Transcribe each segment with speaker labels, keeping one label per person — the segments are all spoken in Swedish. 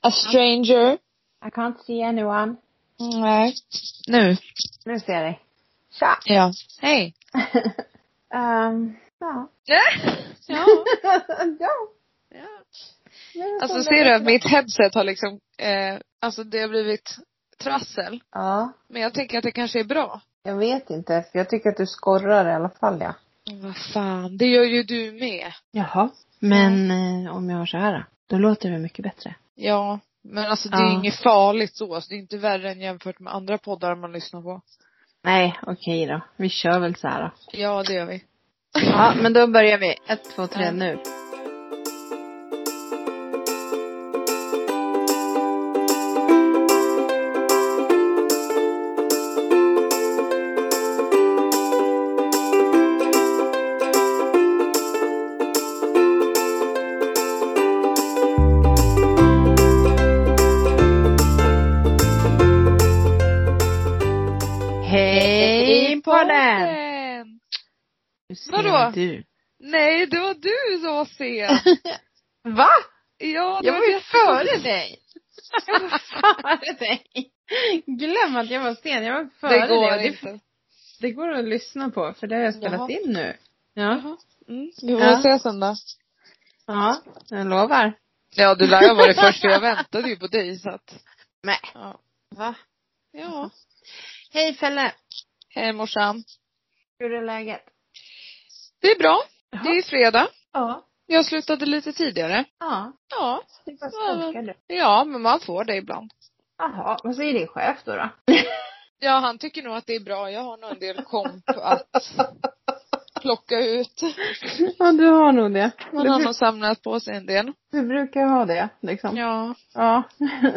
Speaker 1: A stranger.
Speaker 2: I can't see anyone.
Speaker 1: Nej. Nu.
Speaker 2: Nu ser jag dig. Tja!
Speaker 1: Ja. Hej.
Speaker 2: Ehm, ja.
Speaker 1: ja.
Speaker 2: ja.
Speaker 1: ja.
Speaker 2: det är
Speaker 1: Alltså
Speaker 2: så
Speaker 1: ser
Speaker 2: det
Speaker 1: du
Speaker 2: är.
Speaker 1: att mitt headset har liksom, eh, alltså det har blivit trassel.
Speaker 2: Ja.
Speaker 1: Men jag tänker att det kanske är bra.
Speaker 2: Jag vet inte. för Jag tycker att du skorrar i alla fall ja.
Speaker 1: Vad fan, det gör ju du med.
Speaker 2: Jaha. Men eh, om jag har så här då? Då låter det mycket bättre.
Speaker 1: Ja. Men alltså det är
Speaker 2: Ja.
Speaker 1: ju inget farligt så. Alltså, det är inte värre än jämfört med andra poddar man lyssnar på.
Speaker 2: Nej, okej då. Vi kör väl så här då.
Speaker 1: Ja, det gör vi.
Speaker 2: Ja, men då börjar vi. Ett, två, tre
Speaker 1: Ja.
Speaker 2: nu. Hej podden!
Speaker 1: podden!
Speaker 2: Hur ser
Speaker 1: Vadå?
Speaker 2: du?
Speaker 1: Nej, det var du som var sen.
Speaker 2: Va?
Speaker 1: Ja, det
Speaker 2: Jag var ju
Speaker 1: jättekonstigt.
Speaker 2: före dig. Jag var före dig. Glöm att jag var sen. Jag var före
Speaker 1: Det går
Speaker 2: dig. och Det,
Speaker 1: inte.
Speaker 2: det går att lyssna på för det har jag spelat
Speaker 1: Jaha.
Speaker 2: in nu. Ja.
Speaker 1: Jaha. Mm. Vi får
Speaker 2: Ja.
Speaker 1: se sen då.
Speaker 2: Ja, jag lovar.
Speaker 1: Ja, du lär ju ha varit först för jag väntade ju på dig så att.
Speaker 2: Nej.
Speaker 1: Ja.
Speaker 2: Va?
Speaker 1: ja.
Speaker 2: Hej Felle.
Speaker 1: Hej morsan.
Speaker 2: Hur är läget?
Speaker 1: Det är bra.
Speaker 2: Jaha.
Speaker 1: Det är fredag.
Speaker 2: Ja.
Speaker 1: Jag slutade lite tidigare.
Speaker 2: Ja.
Speaker 1: Ja.
Speaker 2: Det var
Speaker 1: svenska
Speaker 2: du.
Speaker 1: Ja, men man får det ibland.
Speaker 2: Jaha, vad säger din chef då? då?
Speaker 1: Ja, han tycker nog att det är bra. Jag har nog en del komp att plocka ut.
Speaker 2: Ja, du har nog det.
Speaker 1: Man har nog samlat på sig en del.
Speaker 2: du brukar ha det liksom.
Speaker 1: Ja.
Speaker 2: Ja.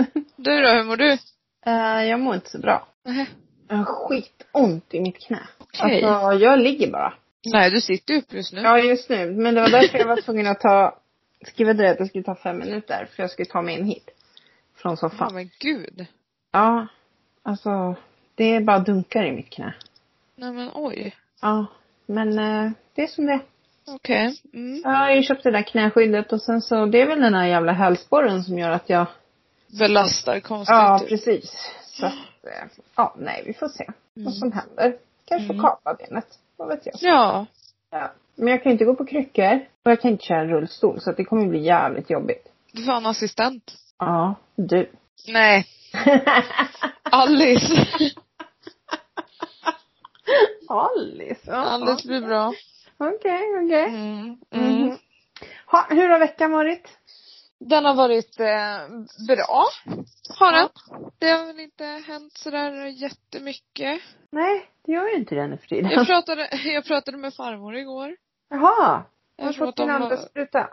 Speaker 1: Du då, hur mår du?
Speaker 2: Eh, jag mår inte så bra.
Speaker 1: Nej.
Speaker 2: Jag har skitont i mitt knä.
Speaker 1: Okej.
Speaker 2: Alltså, jag ligger bara.
Speaker 1: Nej, du sitter ju upp just nu.
Speaker 2: Ja, just nu. Men det var därför jag var tvungen att ta, skriva det att det skulle ta fem minuter. För jag skulle ta mig in hit. Från
Speaker 1: Fan
Speaker 2: soffan.
Speaker 1: men gud.
Speaker 2: Ja. Alltså, det är bara dunkar i mitt knä.
Speaker 1: Nej men oj.
Speaker 2: Ja. Men eh, det är som det är.
Speaker 1: Okej. Mm.
Speaker 2: Jag har ju köpt det där knäskyddet och sen så, det är väl den här jävla hälsporren som gör att jag...
Speaker 1: Belastar konstigt.
Speaker 2: Ja,
Speaker 1: ut.
Speaker 2: precis. Så att, eh, ja, nej, vi får se vad som händer. Kanske
Speaker 1: Mm.
Speaker 2: får kapa benet. Vad vet jag.
Speaker 1: Ja.
Speaker 2: Ja. Men jag kan inte gå på kryckor. Och jag kan inte köra rullstol. Så att det kommer bli jävligt jobbigt.
Speaker 1: Du får ha en assistent.
Speaker 2: Ja, du.
Speaker 1: Nej. Alice.
Speaker 2: Alice. Ja.
Speaker 1: Alice blir bra.
Speaker 2: Okej, okej.
Speaker 1: Mm. Mm.
Speaker 2: Mhm. Ha, Hur har veckan varit?
Speaker 1: Den har varit eh, bra. Har den. Det har väl inte hänt sådär jättemycket.
Speaker 2: Nej, det gör ju inte det nu för tiden.
Speaker 1: Jag pratade, jag pratade med farmor igår.
Speaker 2: Jaha. Du har
Speaker 1: Jag tror
Speaker 2: fått
Speaker 1: att
Speaker 2: din
Speaker 1: de
Speaker 2: andra
Speaker 1: var,
Speaker 2: spruta?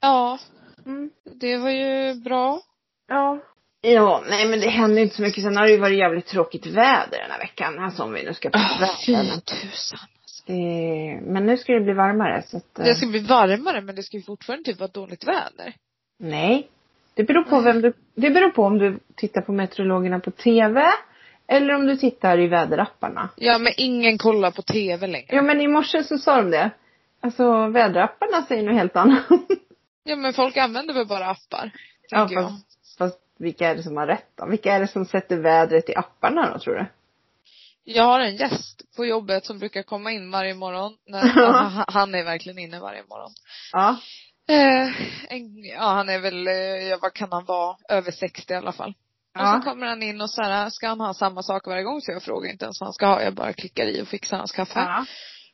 Speaker 1: ja,
Speaker 2: Mm.
Speaker 1: det var ju bra.
Speaker 2: Ja. Ja, nej men det händer ju inte så mycket. Sen har det ju varit jävligt tråkigt väder den här veckan. Alltså om vi nu ska prata
Speaker 1: Oh, fy
Speaker 2: väder.
Speaker 1: tusan. alltså.
Speaker 2: Det- Men nu ska det bli varmare så att, eh,
Speaker 1: Det ska bli varmare men det ska ju fortfarande typ vara dåligt väder.
Speaker 2: Nej. Det beror på vem du, det beror på om du tittar på meteorologerna på TV. Eller om du tittar i väderapparna.
Speaker 1: Ja men ingen kollar på TV längre.
Speaker 2: Ja men i morse så sa de det. Alltså väderapparna säger nog helt annat.
Speaker 1: Ja men folk använder väl bara appar.
Speaker 2: Ja,
Speaker 1: Tänker jag.
Speaker 2: fast, fast vilka är det som har rätt då? Vilka är det som sätter vädret i apparna då tror du?
Speaker 1: Jag har en gäst på jobbet som brukar komma in varje morgon. När, alltså, han- han är verkligen inne varje morgon.
Speaker 2: Ja.
Speaker 1: Eh, en, ja, han är väl, eh, ja, vad kan han vara, över 60 i alla fall. Och
Speaker 2: Ja.
Speaker 1: så kommer han in och så här, ska han ha samma sak varje gång? Så jag frågar inte ens vad han ska ha. Jag bara klickar i och fixar hans kaffe.
Speaker 2: Ja.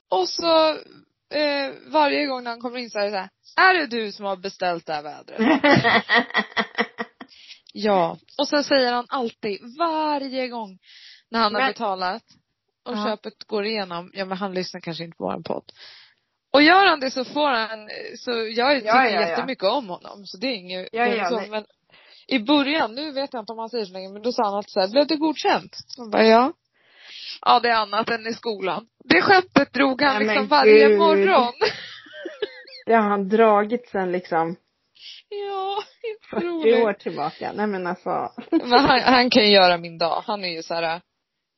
Speaker 1: Och så eh, varje gång när han kommer in så är det så här, är det du som har beställt det här vädret? Ja. Och sen säger han alltid, varje gång när han har
Speaker 2: Men-
Speaker 1: betalat och
Speaker 2: Ja.
Speaker 1: köpet går igenom, ja men han lyssnar kanske inte på våran podd. Och gör han det så får han, så jag tycker
Speaker 2: ja, ja.
Speaker 1: jättemycket om honom. Så det är inget,
Speaker 2: Ja,
Speaker 1: det är
Speaker 2: ja,
Speaker 1: så,
Speaker 2: nej.
Speaker 1: men i början, nu vet jag inte om han säger så länge, men då sa han alltid så här, blev det godkänt? Man bara, ja. Ja, det är annat än i skolan. Det skämtet drog han
Speaker 2: Nej, men
Speaker 1: liksom varje
Speaker 2: gud.
Speaker 1: morgon.
Speaker 2: Det har han dragit sen liksom
Speaker 1: ja,
Speaker 2: 40
Speaker 1: inte roligt.
Speaker 2: år tillbaka. Nej men alltså.
Speaker 1: Men han, han kan ju göra min dag. Han är ju så här.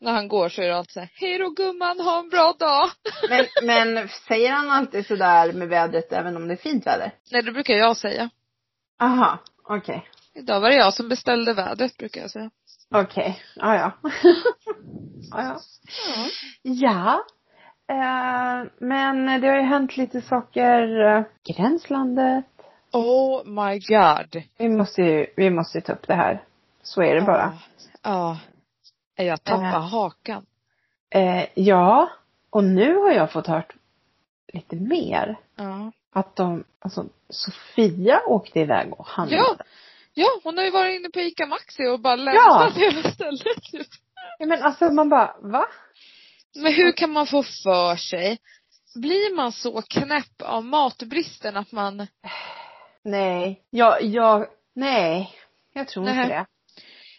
Speaker 1: När han går så är det alltid så här, hej då gumman, ha en bra dag.
Speaker 2: Men, men säger han alltid sådär med vädret även om det är fint väder?
Speaker 1: Nej, det brukar jag säga.
Speaker 2: Aha, okej.
Speaker 1: Idag var det jag som beställde vädret brukar jag säga.
Speaker 2: Okej, ah, ja ah, ja.
Speaker 1: Ja.
Speaker 2: Ja. Eh, men det har ju hänt lite saker. eh, Gränslandet.
Speaker 1: Oh my god.
Speaker 2: Vi måste ju, vi måste ju ta upp det här. Så är det bara.
Speaker 1: Ja. ja. Jag tappar
Speaker 2: Ja.
Speaker 1: hakan.
Speaker 2: Eh, ja, och nu har jag fått hört lite mer.
Speaker 1: Ja.
Speaker 2: Att de, alltså Sofia åkte iväg och handlade.
Speaker 1: Ja. Ja, hon har ju varit inne på ICA Maxi och bara lämnat
Speaker 2: Ja.
Speaker 1: hela stället. typ.
Speaker 2: Ja. Men alltså man bara, va?
Speaker 1: Men hur kan man få för sig? Blir man så knäpp av matbristen att man,
Speaker 2: Nej, jag, jag, nej. Jag tror
Speaker 1: Nej.
Speaker 2: inte det.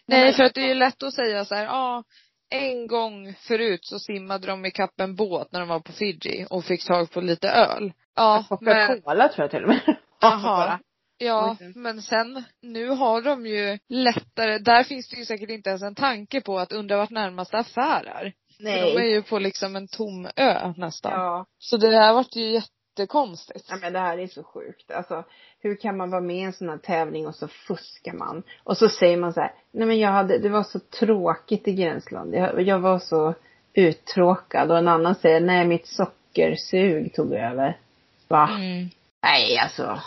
Speaker 1: nej för att det är ju lätt att säga så här, ja, en gång förut så simmade de ikapp en båt när de var på Fiji och fick tag på lite öl. Ja, men,
Speaker 2: Coca-Cola tror jag till och med.
Speaker 1: Jaha. ja,
Speaker 2: Oj.
Speaker 1: men sen, nu har de ju lättare, där finns det ju säkert inte ens en tanke på att undra vart närmaste affär är. För De är
Speaker 2: Nej.
Speaker 1: ju på liksom en tom ö nästan.
Speaker 2: Ja.
Speaker 1: Så det här vart ju jättekonstigt.
Speaker 2: Ja men det här är så sjukt. Alltså hur kan man vara med i en sån här tävling och så fuskar man. Och så säger man så här, nej men jag hade, det var så tråkigt i Gränsland. Jag, jag var så uttråkad. Och en annan säger, nej mitt sockersug tog över. Va?
Speaker 1: Mm.
Speaker 2: Nej alltså.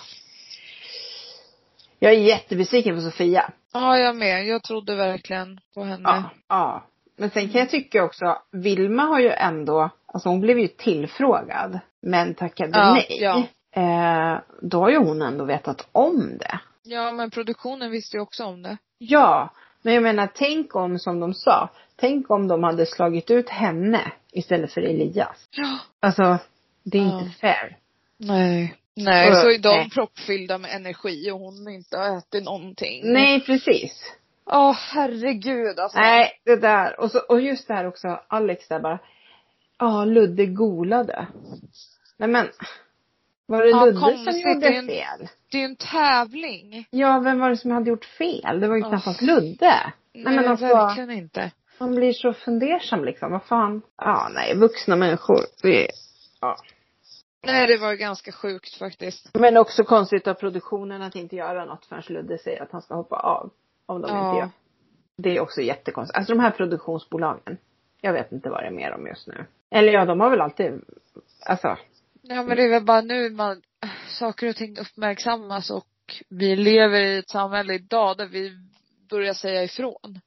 Speaker 2: Jag är jättebesviken på Sofia.
Speaker 1: Ja, jag med. Jag trodde verkligen på henne.
Speaker 2: Ja. ja. Men sen kan jag tycka också, Vilma har ju ändå, alltså hon blev ju tillfrågad. Men tackade
Speaker 1: Ja,
Speaker 2: nej.
Speaker 1: ja.
Speaker 2: Eh, då har ju hon ändå vetat om det.
Speaker 1: Ja, men produktionen visste ju också om det.
Speaker 2: Ja, men jag menar tänk om som de sa. Tänk om de hade slagit ut henne istället för Elias.
Speaker 1: Ja.
Speaker 2: Alltså, det är
Speaker 1: Ja.
Speaker 2: inte fair.
Speaker 1: Nej. Nej,
Speaker 2: Och-
Speaker 1: så är de
Speaker 2: nej.
Speaker 1: proppfyllda med energi och hon inte har ätit någonting.
Speaker 2: Nej, precis.
Speaker 1: Åh, herregud alltså.
Speaker 2: Nej, det där. Och, så, och just det här också, Alex där bara. Ja, Ludde golade. Nej men. Var det
Speaker 1: Ja,
Speaker 2: Ludde som
Speaker 1: konstigt,
Speaker 2: gjorde
Speaker 1: det är en-
Speaker 2: fel?
Speaker 1: Det är ju en tävling.
Speaker 2: Ja, vem var det som hade gjort fel? Det var ju
Speaker 1: Ja.
Speaker 2: knappast Ludde.
Speaker 1: Nej,
Speaker 2: men
Speaker 1: men
Speaker 2: alltså-
Speaker 1: verkligen inte.
Speaker 2: Man blir så fundersam liksom. Vad fan. Ja, nej, vuxna människor. Det är... Ja.
Speaker 1: Nej, det var ju ganska sjukt faktiskt.
Speaker 2: Men också konstigt av produktionen att inte göra något förrän Ludde säger att han ska hoppa av. Om de
Speaker 1: Ja.
Speaker 2: inte gör. Det är också jättekonstigt. Alltså de här produktionsbolagen. Jag vet inte vad det är mer om just nu. Eller ja, de har väl alltid, alltså.
Speaker 1: Nej, men det är väl bara nu man, saker och ting uppmärksammas och vi lever i ett samhälle idag där vi börjar säga ifrån.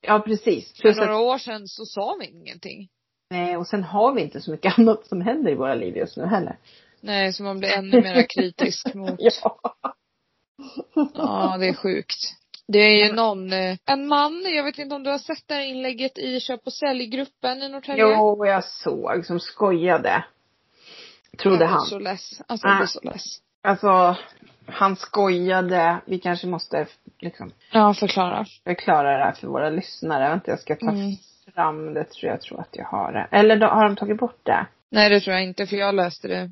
Speaker 2: Ja, precis.
Speaker 1: För
Speaker 2: Plus
Speaker 1: några
Speaker 2: att,
Speaker 1: år sedan så sa vi ingenting.
Speaker 2: nej, och sen har vi inte så mycket annat som händer i våra liv just nu heller.
Speaker 1: Nej, så man blir ännu mer kritisk mot
Speaker 2: Ja.
Speaker 1: Ja, det är sjukt. Det är ju någon, eh, en man, jag vet inte om du har sett det här inlägget i köp och säljgruppen i Norrtälje?
Speaker 2: Jo, jag såg som skojade.
Speaker 1: Jag
Speaker 2: Trodde
Speaker 1: blir
Speaker 2: han.
Speaker 1: Mm, så less. Alltså jag blir så less.
Speaker 2: Alltså, han skojade. Vi kanske måste liksom
Speaker 1: Ja, förklara.
Speaker 2: förklara det här för våra lyssnare. Vänta, jag ska ta
Speaker 1: Mm.
Speaker 2: fram det tror jag tror att jag har det. Eller då, har de tagit bort det?
Speaker 1: Nej, det tror jag inte för jag läste det.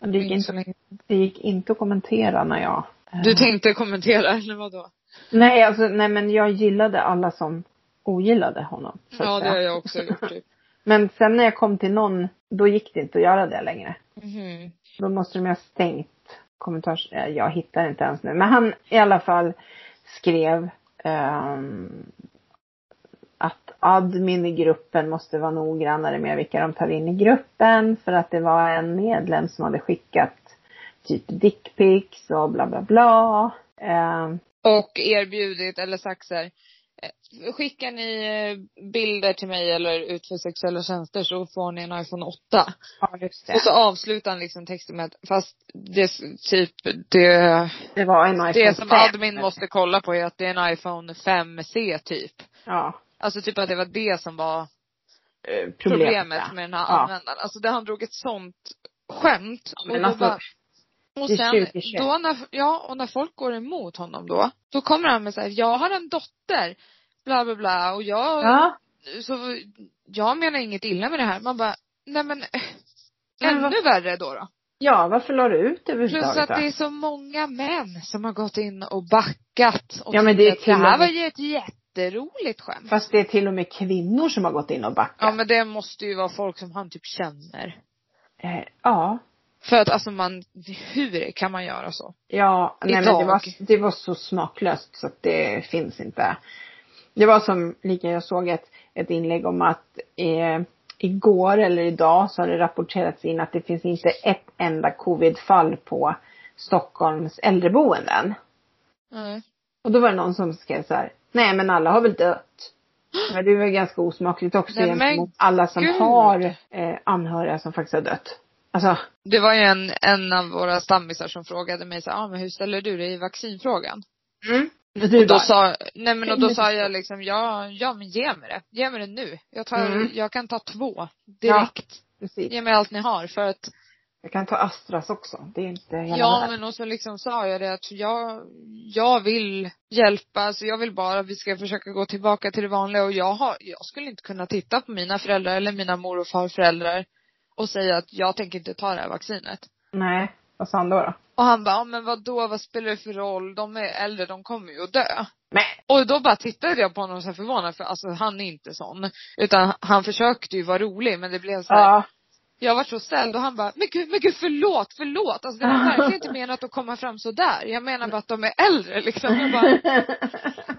Speaker 2: Det gick,
Speaker 1: inte
Speaker 2: inte,
Speaker 1: så länge.
Speaker 2: det gick inte att kommentera när jag... eh,
Speaker 1: Du tänkte kommentera eller vadå?
Speaker 2: nej, alltså nej men jag gillade alla som ogillade honom. Så
Speaker 1: Ja,
Speaker 2: att
Speaker 1: det har
Speaker 2: säga.
Speaker 1: jag också gjort typ.
Speaker 2: Men sen när jag kom till någon, då gick det inte att göra det längre.
Speaker 1: Mhm.
Speaker 2: Då måste de ju ha stängt kommentars... eh, Jag hittar inte ens nu. Men han i alla fall skrev ehm, att admin i gruppen måste vara noggrannare med vilka de tar in i gruppen. För att det var en medlem som hade skickat typ dickpics och bla bla bla. Ehm,
Speaker 1: Och erbjudit eller sagt så här, eh, skickar ni eh, bilder till mig eller utför sexuella tjänster så får ni en iPhone 8.
Speaker 2: ja, just det.
Speaker 1: Och så avslutar han liksom texten med att, fast det typ, det,
Speaker 2: Det var en iPhone
Speaker 1: det som
Speaker 2: 5.
Speaker 1: admin måste kolla på är att det är en iPhone 5C typ.
Speaker 2: Ja.
Speaker 1: Alltså typ att det var det som var
Speaker 2: eh, Problemet,
Speaker 1: problemet
Speaker 2: ja.
Speaker 1: med den här
Speaker 2: Ja.
Speaker 1: användaren. Alltså det han drog ett sånt skämt.
Speaker 2: men
Speaker 1: och då
Speaker 2: alltså,
Speaker 1: bara, och
Speaker 2: det är
Speaker 1: sen,
Speaker 2: 2021.
Speaker 1: då när, ja, och när folk går emot honom då, då kommer han med så här, jag har en dotter, bla bla bla och jag
Speaker 2: Ja.
Speaker 1: så jag menar inget illa med det här. Man bara, nej men, eh,
Speaker 2: Men
Speaker 1: ännu
Speaker 2: vad-
Speaker 1: värre då då.
Speaker 2: Ja, varför la du ut det
Speaker 1: Plus
Speaker 2: överhuvudtaget?
Speaker 1: att
Speaker 2: då?
Speaker 1: det är så många män som har gått in och backat och
Speaker 2: Ja, men det är
Speaker 1: tyckt att det
Speaker 2: till
Speaker 1: här
Speaker 2: och
Speaker 1: var
Speaker 2: med-
Speaker 1: ju ett jätteroligt skämt.
Speaker 2: Fast det är till och med kvinnor som har gått in och backat.
Speaker 1: Ja men det måste ju vara folk som han typ känner.
Speaker 2: Eh, ja.
Speaker 1: För att alltså man, hur kan man göra så?
Speaker 2: Ja, nej, men det,
Speaker 1: Idag.
Speaker 2: var, det var så smaklöst så att det finns inte. Det var som, lika jag såg ett, ett inlägg om att eh, igår eller idag så har det rapporterats in att det finns inte ett enda covidfall på Stockholms äldreboenden.
Speaker 1: Nej.
Speaker 2: Och då var det någon som skrev så här, nej men alla har väl dött. Men det var ganska osmakligt också
Speaker 1: Nej, men
Speaker 2: gentemot alla som
Speaker 1: gud.
Speaker 2: har eh, anhöriga som faktiskt har dött. Alltså,
Speaker 1: Det var ju en, en av våra stammisar som frågade mig så här, ah, men hur ställer du dig i vaccinfrågan?
Speaker 2: mm.
Speaker 1: Och då sa, nej men och då sa jag liksom, ja, ja men ge mig det. Ge mig det nu. Jag tar,
Speaker 2: Mm.
Speaker 1: jag kan ta två direkt.
Speaker 2: Precis.
Speaker 1: Ge mig allt ni har för att
Speaker 2: Jag kan ta Astras också. Det är inte hela
Speaker 1: Ja
Speaker 2: världen.
Speaker 1: men och så liksom sa jag det att jag, jag vill hjälpa, så jag vill bara att vi ska försöka gå tillbaka till det vanliga och jag har, jag skulle inte kunna titta på mina föräldrar eller mina mor och farföräldrar och säga att jag tänker inte ta det här vaccinet.
Speaker 2: Nej, vad sa han då? då?
Speaker 1: Och han bara, ja men vadå, vad spelar det för roll, de är äldre, de kommer ju att dö.
Speaker 2: Men,
Speaker 1: Och då bara tittade jag på honom så här förvånad för alltså han är inte sån. Utan han försökte ju vara rolig men det blev så här,
Speaker 2: ja.
Speaker 1: jag var så ställd och han bara, men gud, men gud förlåt, förlåt. Alltså det var verkligen inte menat att komma fram så där. Jag menar bara att de är äldre liksom. Jag bara,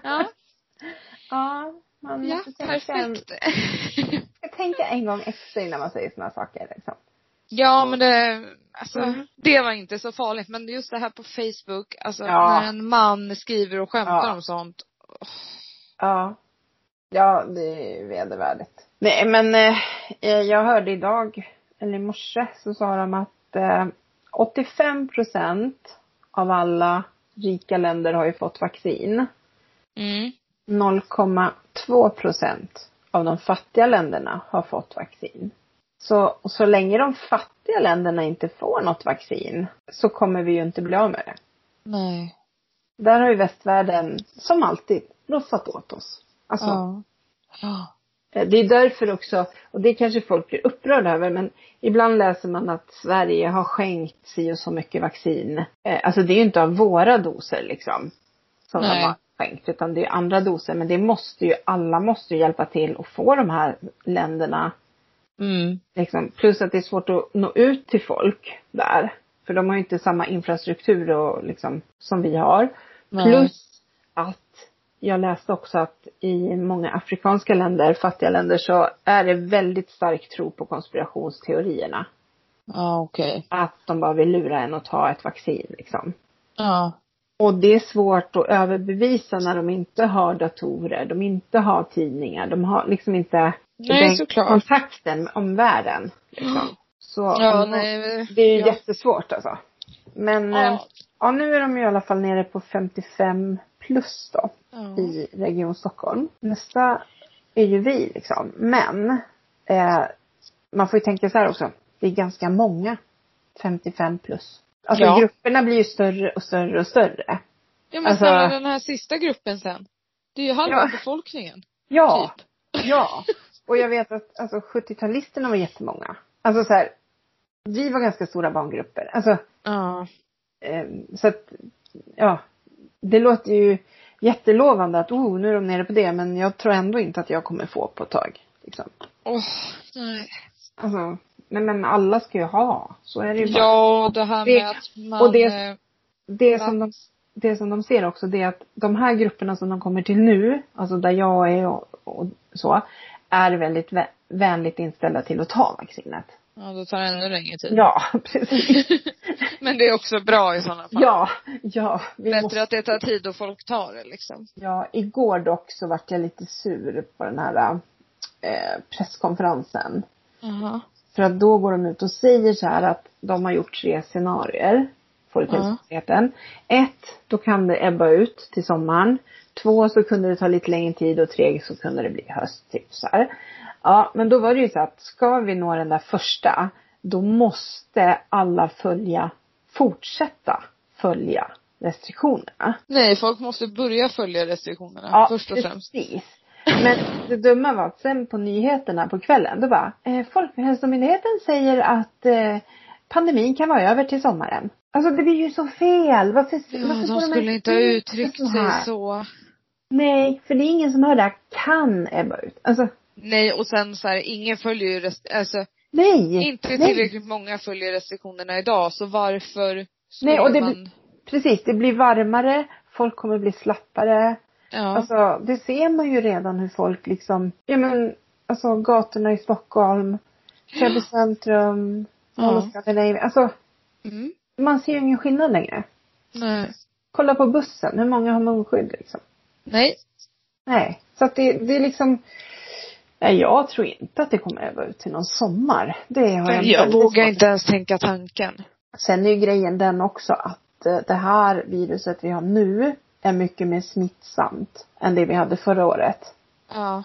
Speaker 1: ja,
Speaker 2: ja, man
Speaker 1: ja,
Speaker 2: måste tänka en,
Speaker 1: perfekt.
Speaker 2: tänka en gång extra innan man säger sådana saker. Liksom.
Speaker 1: Ja men det, alltså
Speaker 2: Mm.
Speaker 1: det var inte så farligt. Men just det här på Facebook, alltså
Speaker 2: Ja.
Speaker 1: när en man skriver och skämtar
Speaker 2: Ja.
Speaker 1: om sånt.
Speaker 2: Ja. Ja, det är vedervärdigt. Nej, men eh, eh, jag hörde idag, eller i morse, så sa de att eh, 85 procent av alla rika länder har ju fått vaccin.
Speaker 1: Mm.
Speaker 2: 0,2 procent av de fattiga länderna har fått vaccin. Så, och så länge de fattiga länderna inte får något vaccin så kommer vi ju inte bli av med det.
Speaker 1: Nej.
Speaker 2: Där har ju västvärlden, som alltid, roffat åt oss. Alltså,
Speaker 1: Ja. Ja.
Speaker 2: eh, Det är därför också, och det kanske folk blir upprörda över, men ibland läser man att Sverige har skänkt si och så mycket vaccin. Eh, Alltså det är ju inte av våra doser liksom. Som de
Speaker 1: Nej.
Speaker 2: har skänkt, utan det är andra doser. Men det måste ju, alla måste ju hjälpa till och få de här länderna.
Speaker 1: Mm.
Speaker 2: Liksom. Plus att det är svårt att nå ut till folk där. För de har ju inte samma infrastruktur och liksom, som vi har.
Speaker 1: Nej.
Speaker 2: Plus att jag läste också att i många afrikanska länder, fattiga länder, så är det väldigt stark tro på konspirationsteorierna.
Speaker 1: Ja okej.
Speaker 2: Att de bara vill lura en att ta ett vaccin liksom.
Speaker 1: Ja.
Speaker 2: Och det är svårt att överbevisa när de inte har datorer, de inte har tidningar, de har liksom inte
Speaker 1: Nej,
Speaker 2: den
Speaker 1: såklart. Mm.
Speaker 2: kontakten med omvärlden. Liksom. Så
Speaker 1: Ja
Speaker 2: om-
Speaker 1: nej.
Speaker 2: det är ju
Speaker 1: ja.
Speaker 2: jättesvårt alltså. Men ja. Eh,
Speaker 1: Ja.
Speaker 2: ja, nu är de ju i alla fall nere på 55 plus då
Speaker 1: Ja.
Speaker 2: i Region Stockholm. Nästa är ju vi liksom. Men eh, man får ju tänka så här också. Det är ganska många 55 plus. Alltså
Speaker 1: Ja.
Speaker 2: grupperna blir ju större och större och större.
Speaker 1: Ja men
Speaker 2: Alltså-
Speaker 1: snälla den här sista gruppen sen. Det är ju halva
Speaker 2: Ja.
Speaker 1: befolkningen.
Speaker 2: Ja,
Speaker 1: Typ.
Speaker 2: ja. Och jag vet att alltså, 70-talisterna var jättemånga. Alltså så här, vi var ganska stora barngrupper. Alltså,
Speaker 1: Ja.
Speaker 2: eh, så att, ja. Det låter ju jättelovande att, oh, nu är de nere på det, men jag tror ändå inte att jag kommer få på ett tag. Liksom.
Speaker 1: Åh, nej.
Speaker 2: Alltså, nej men alla ska ju ha. Så är det ju bara.
Speaker 1: Ja, och det här
Speaker 2: Det-
Speaker 1: med att man...
Speaker 2: och det-
Speaker 1: eh,
Speaker 2: det, som de, det som de ser också det är att de här grupperna som de kommer till nu, alltså där jag är och, och så, är väldigt vä- vänligt inställda till att ta vaccinet.
Speaker 1: Ja, då tar det ännu längre tid.
Speaker 2: Ja, precis.
Speaker 1: Men det är också bra i sådana fall.
Speaker 2: Ja, ja. Vi
Speaker 1: Bättre
Speaker 2: måste,
Speaker 1: att det tar tid och folk tar det liksom.
Speaker 2: ja. Igår dock så vart jag lite sur på den här eh, presskonferensen.
Speaker 1: Jaha.
Speaker 2: För att då går de ut och säger så här att de har gjort tre scenarier. Folkhälsomyndigheten. Ett, då kan det ebba ut till sommaren. Två, så kunde det ta lite längre tid och tre, så kunde det bli höst. Typ så här. Ja, men då var det ju så att ska vi nå den där första, då måste alla följa, fortsätta följa restriktionerna.
Speaker 1: Nej, folk måste börja följa restriktionerna först och främst.
Speaker 2: Precis. Men det dumma var att sen på nyheterna på kvällen, då bara, eh, Folkhälsomyndigheten säger att eh, pandemin kan vara över till sommaren. Alltså det blir ju så fel. Varför,
Speaker 1: Ja,
Speaker 2: varför får
Speaker 1: de skulle
Speaker 2: ens
Speaker 1: inte ha
Speaker 2: ut
Speaker 1: uttryckt
Speaker 2: så
Speaker 1: sig
Speaker 2: här?
Speaker 1: så.
Speaker 2: Nej, för det är ingen som hör det här kan ebba ut. Alltså,
Speaker 1: Nej, och sen så här, ingen följer ju rest- alltså
Speaker 2: Nej!
Speaker 1: Inte
Speaker 2: nej.
Speaker 1: tillräckligt många följer restriktionerna idag, så varför skulle
Speaker 2: Nej, och det
Speaker 1: man...
Speaker 2: Precis, det blir varmare, folk kommer bli slappare.
Speaker 1: Ja.
Speaker 2: Alltså det ser man ju redan hur folk liksom, ja men alltså gatorna i Stockholm, Täby centrum, ja.
Speaker 1: ja.
Speaker 2: alltså
Speaker 1: Mm.
Speaker 2: man ser ju ingen skillnad längre.
Speaker 1: Nej.
Speaker 2: Kolla på bussen, hur många har munskydd liksom?
Speaker 1: Nej.
Speaker 2: Nej, så att det, det är liksom Nej, jag tror inte att det kommer öva ut till någon sommar. Det har
Speaker 1: Jag,
Speaker 2: jag,
Speaker 1: jag
Speaker 2: väldigt
Speaker 1: vågar
Speaker 2: svårt-
Speaker 1: inte ens tänka tanken.
Speaker 2: Sen är ju grejen den också att eh, det här viruset vi har nu är mycket mer smittsamt än det vi hade förra året.
Speaker 1: Ja.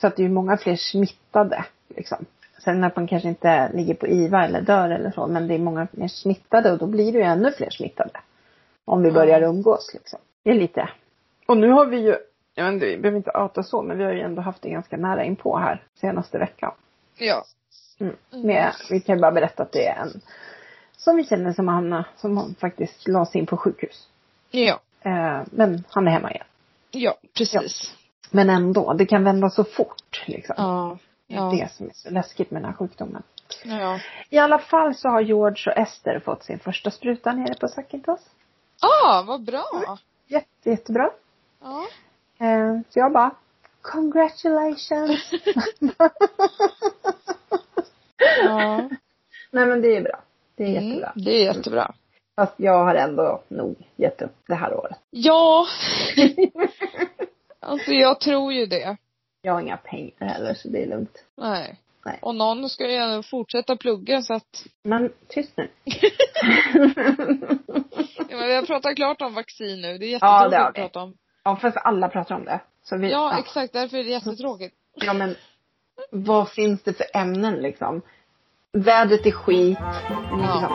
Speaker 2: Så att det är ju många fler smittade. Liksom. Sen att man kanske inte ligger på IVA eller dör eller så, men det är många fler smittade och då blir det ju ännu fler smittade. Om vi
Speaker 1: Ja.
Speaker 2: börjar umgås liksom. Det är lite. Och nu har vi ju, jag vet inte, vi behöver inte outa så, men vi har ju ändå haft det ganska nära inpå här senaste veckan.
Speaker 1: Ja.
Speaker 2: Mm.
Speaker 1: Mm.
Speaker 2: Med, vi kan ju bara berätta att det är en som vi känner som Anna, som hon faktiskt lades in på sjukhus.
Speaker 1: Ja.
Speaker 2: Eh, men han är hemma igen.
Speaker 1: Ja, precis.
Speaker 2: Men ändå, det kan vända så fort liksom.
Speaker 1: Ja.
Speaker 2: Det är
Speaker 1: Ja.
Speaker 2: det som är så läskigt med den här sjukdomen.
Speaker 1: Ja.
Speaker 2: I alla fall så har George och Ester fått sin första spruta nere på Sakintos.
Speaker 1: Ah, vad bra.
Speaker 2: Jätte, jättebra.
Speaker 1: Ja.
Speaker 2: Eh, så jag bara, congratulations.
Speaker 1: ja.
Speaker 2: Nej men det är bra. Det är
Speaker 1: Mm,
Speaker 2: jättebra.
Speaker 1: Det är jättebra.
Speaker 2: Fast jag har ändå nog gett upp det här året.
Speaker 1: Ja. alltså jag tror ju det.
Speaker 2: Jag har inga pengar heller så det är lugnt.
Speaker 1: Nej.
Speaker 2: Nej.
Speaker 1: Och någon ska ju ändå fortsätta plugga så att,
Speaker 2: Men tyst nu.
Speaker 1: ja, men vi har pratat klart om vaccin nu. Det är
Speaker 2: Ja,
Speaker 1: jättetråkigt
Speaker 2: det har
Speaker 1: att
Speaker 2: vi.
Speaker 1: prata om.
Speaker 2: ja fast alla pratar om det. Så vi,
Speaker 1: Ja, exakt. Därför är det jättetråkigt.
Speaker 2: Ja men vad finns det för ämnen liksom? Vädret är skit. Liksom.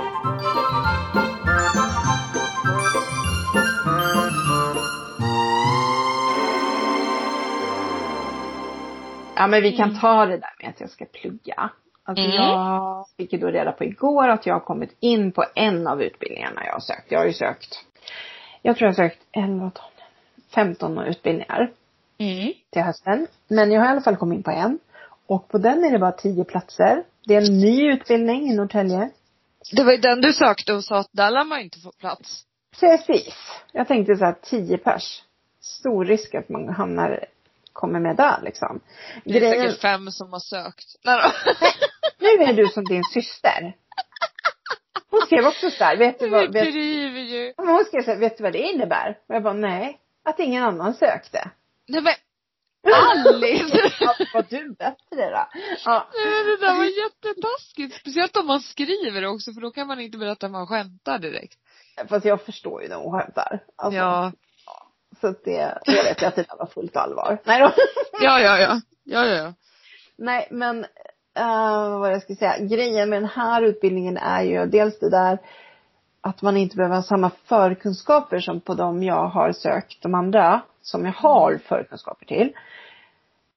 Speaker 2: Ja men vi kan
Speaker 1: Mm.
Speaker 2: ta det där med att jag ska plugga. Alltså
Speaker 1: Mm.
Speaker 2: jag fick ju då reda på igår att jag har kommit in på en av utbildningarna jag har sökt. Jag har ju sökt, jag tror jag har sökt 11, 12, 15 utbildningar
Speaker 1: Mm.
Speaker 2: till hösten. Men jag har i alla fall kommit in på en. Och på den är det bara 10 platser. Det är en ny utbildning i Norrtälje.
Speaker 1: Det var ju den du sökte och sa att där lär man inte få plats.
Speaker 2: Precis. Jag tänkte så här 10 pers. Stor risk att man hamnar, kommer med där liksom.
Speaker 1: Det är
Speaker 2: Grejen,
Speaker 1: säkert fem som har sökt. Nej då.
Speaker 2: nu är du som din syster. Hon skrev också så här, vet du vad,
Speaker 1: Vi
Speaker 2: vet,
Speaker 1: driver ju.
Speaker 2: Ja, men hon skrev så här, vet du vad det innebär? Och jag bara, nej. Att ingen annan sökte.
Speaker 1: Nej men Alice!
Speaker 2: Ja, Var du bättre då? Ja.
Speaker 1: Nej, men det där var
Speaker 2: Alltså,
Speaker 1: jättetaskigt. Speciellt om man skriver också för då kan man inte berätta att man skämtar direkt.
Speaker 2: Fast jag förstår ju när hon skämtar. Alltså,
Speaker 1: Ja.
Speaker 2: Så att det, jag vet ju att det där var fullt allvar. Nej då.
Speaker 1: Ja, ja, ja. Ja, ja, ja.
Speaker 2: Nej men, eh, vad jag ska säga. Grejen med den här utbildningen är ju dels det där att man inte behöver ha samma förkunskaper som på de jag har sökt, de andra som jag har förkunskaper till.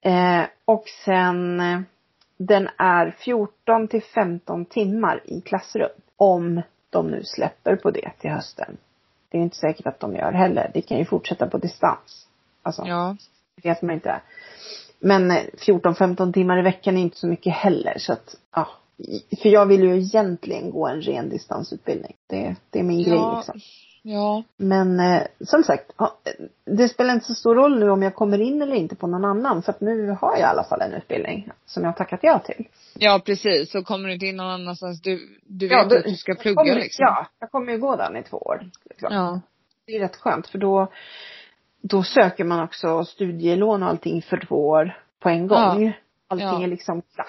Speaker 2: Eh, och sen, eh, den är 14 till 15 timmar i klassrum. Om de nu släpper på det till hösten. Det är ju inte säkert att de gör heller. Det kan ju fortsätta på distans. Alltså,
Speaker 1: Ja.
Speaker 2: det vet man inte. Men eh, 14-15 timmar i veckan är inte så mycket heller så att, ja. För jag vill ju egentligen gå en ren distansutbildning. Det, det är min grej
Speaker 1: Ja.
Speaker 2: liksom.
Speaker 1: Ja.
Speaker 2: Men eh, som sagt, ja, eh, det spelar inte så stor roll nu om jag kommer in eller inte på någon annan för att nu har jag i alla fall en utbildning som jag har tackat ja till.
Speaker 1: Ja, precis. Så kommer du inte in någon annanstans. Du, du vet
Speaker 2: Ja, då-
Speaker 1: att du ska
Speaker 2: Jag
Speaker 1: plugga
Speaker 2: kommer,
Speaker 1: liksom.
Speaker 2: Ja, jag kommer ju gå den i två år. Liksom.
Speaker 1: Ja.
Speaker 2: Det är rätt skönt för då, då söker man också studielån och allting för två år på en
Speaker 1: Ja.
Speaker 2: gång. Allting
Speaker 1: Ja.
Speaker 2: är liksom klart.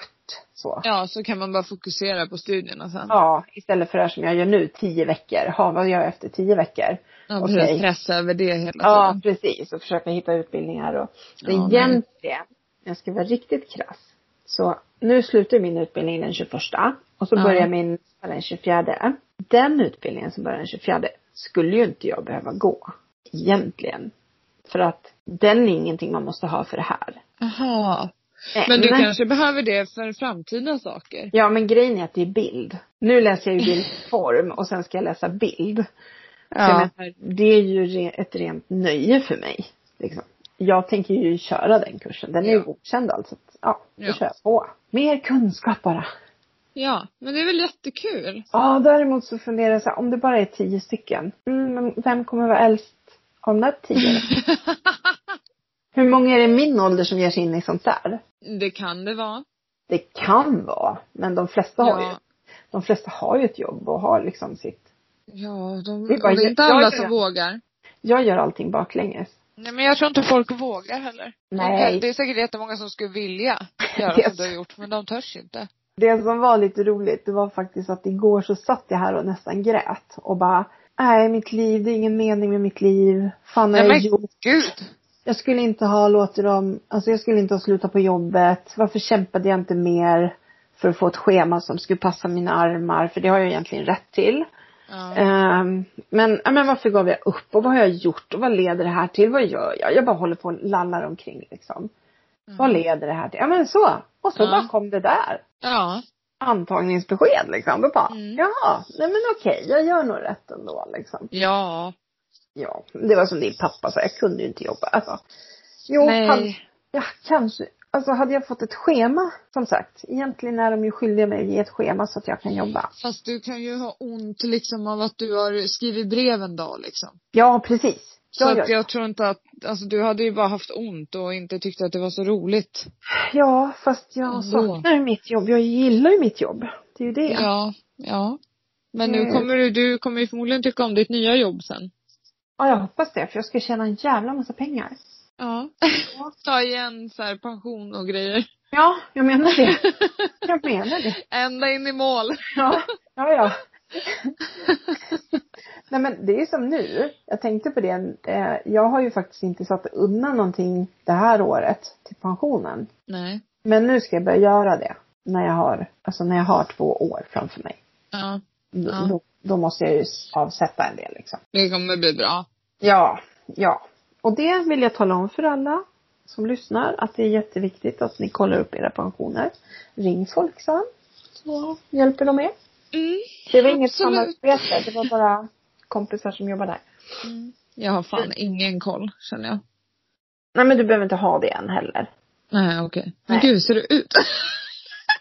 Speaker 2: Så.
Speaker 1: Ja, så kan man bara fokusera på studierna sen.
Speaker 2: Ja, istället för det här som jag gör nu, tio veckor. Ha, vad gör jag efter tio veckor?
Speaker 1: Ja,
Speaker 2: okej.
Speaker 1: precis. Stressa över det hela
Speaker 2: Ja,
Speaker 1: tiden.
Speaker 2: precis. Och försöka hitta utbildningar och så
Speaker 1: Alltså, Ja, nej.
Speaker 2: egentligen, jag ska vara riktigt krass. Så nu slutar min utbildning den 21 och så
Speaker 1: Ja.
Speaker 2: börjar min den 24. Den utbildningen som börjar den 24 skulle ju inte jag behöva gå egentligen. För att den är ingenting man måste ha för det här.
Speaker 1: Jaha.
Speaker 2: Nej,
Speaker 1: Men du
Speaker 2: nej.
Speaker 1: kanske behöver det för framtida saker?
Speaker 2: Ja men grejen är att det är bild. Nu läser jag ju bildform och sen ska jag läsa bild. Ja. Det är ju re- ett rent nöje för mig. Liksom. Jag tänker ju köra den kursen. Den är ju
Speaker 1: Ja.
Speaker 2: godkänd alltså. att, Ja, det
Speaker 1: Ja.
Speaker 2: kör jag på. Mer kunskap bara.
Speaker 3: Ja, men det är väl jättekul.
Speaker 2: Ja, däremot så funderar jag så här, om det bara är tio stycken. Mm, men vem kommer vara äldst av de där tio? Hur många är det i min ålder som ger sig in i sånt där?
Speaker 3: Det kan det vara.
Speaker 2: Det kan vara, men de flesta har ju, de flesta har ju ett jobb och har liksom sitt.
Speaker 3: Ja, de,
Speaker 2: Det
Speaker 3: det
Speaker 2: är bara-
Speaker 3: är inte
Speaker 2: jag-
Speaker 3: alla
Speaker 2: jag-
Speaker 3: som vågar.
Speaker 2: Jag gör allting baklänges.
Speaker 1: Nej men jag tror inte folk vågar heller.
Speaker 2: Nej.
Speaker 1: Det är säkert jättemånga som skulle vilja göra
Speaker 2: Yes.
Speaker 1: som du har gjort, men de törs inte.
Speaker 2: Det som var lite roligt, det var faktiskt att igår så satt jag här och nästan grät och bara, nej mitt liv, det är ingen mening med mitt liv. Fan har
Speaker 1: Nej
Speaker 2: jag
Speaker 1: men
Speaker 2: gjort?
Speaker 1: gud.
Speaker 2: Jag skulle inte ha låtit dem, alltså jag skulle inte ha slutat på jobbet. Varför kämpade jag inte mer för att få ett schema som skulle passa mina armar? För det har jag egentligen rätt till.
Speaker 1: Ja.
Speaker 2: Ehm, men, ja, men varför gav jag upp och vad har jag gjort och vad leder det här till? Vad gör jag? Jag bara håller på och lallar omkring liksom.
Speaker 1: Mm.
Speaker 2: Vad leder det här till? Ja men så. Och så
Speaker 3: Ja.
Speaker 2: bara kom det där
Speaker 3: Ja.
Speaker 2: antagningsbesked liksom. Då bara,
Speaker 3: Mm.
Speaker 2: jaha, nej men okej, jag gör nog rätt ändå liksom.
Speaker 3: Ja.
Speaker 2: Ja, det var som din pappa sa, jag kunde ju inte jobba. Alltså, jo,
Speaker 3: Nej.
Speaker 2: Han, ja, kanske. Alltså hade jag fått ett schema, som sagt. Egentligen är de ju skyldiga mig att ge ett schema så att jag kan jobba.
Speaker 3: Fast du kan ju ha ont liksom av att du har skrivit brev en dag liksom.
Speaker 2: Ja, precis.
Speaker 3: Så
Speaker 2: Ja,
Speaker 3: att
Speaker 2: ja.
Speaker 3: jag tror inte att, alltså du hade ju bara haft ont och inte tyckt att det var så roligt.
Speaker 2: ja, fast jag
Speaker 3: Ändå.
Speaker 2: saknar ju mitt jobb. Jag gillar ju mitt jobb. Det är ju det.
Speaker 3: Ja. Ja. Men nu
Speaker 2: Mm.
Speaker 3: kommer du, du kommer ju förmodligen tycka om ditt nya jobb sen.
Speaker 2: ja, jag hoppas det. För jag ska tjäna en jävla massa pengar.
Speaker 3: Ja. Ta igen så här pension och grejer.
Speaker 2: Ja, jag menar det. Jag menar det.
Speaker 3: Ända in i mål.
Speaker 2: Ja, ja, ja. Nej men det är som nu. Jag tänkte på det. eh, Jag har ju faktiskt inte satt undan någonting det här året till pensionen.
Speaker 3: Nej.
Speaker 2: Men nu ska jag börja göra det. När jag har, alltså när jag har två år framför mig.
Speaker 3: Ja.
Speaker 2: Då-
Speaker 3: Ja.
Speaker 2: Då, då måste jag ju avsätta en del liksom.
Speaker 3: Det kommer bli bra.
Speaker 2: Ja, ja. Och det vill jag tala om för alla som lyssnar att det är jätteviktigt att ni kollar upp era pensioner. Ring Folksam så hjälper de er.
Speaker 3: Mm.
Speaker 2: Det var inget
Speaker 3: Absolut.
Speaker 2: samarbete, det var bara kompisar som jobbar där.
Speaker 3: Jag har fan ingen koll känner jag.
Speaker 2: Nej men du behöver inte ha det än heller.
Speaker 3: Nej okej. Men
Speaker 2: Nej.
Speaker 3: gud hur ser det ut?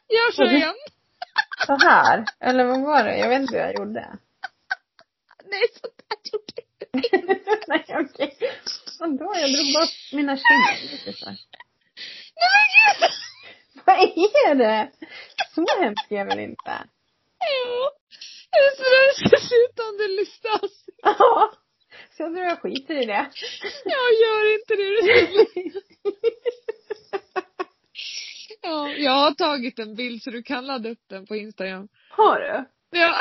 Speaker 3: jag kör
Speaker 2: Mhm.
Speaker 3: igen.
Speaker 2: Så här? Eller vad var det? Jag vet inte hur jag gjorde.
Speaker 3: Nej så där gjorde jag.
Speaker 2: Nej okej. Vadå? Jag drog bort mina kinder lite så här.
Speaker 3: Nej men gud!
Speaker 2: Vad är det? Så hemskt är jag väl inte?
Speaker 3: Jo. Är det så där det ska se ut om det listas?
Speaker 2: Ja. Så jag tror jag skiter i det.
Speaker 3: Jag gör inte det. Ja, jag har tagit en bild så du kan ladda upp den på Instagram.
Speaker 2: Har du?
Speaker 3: Ja.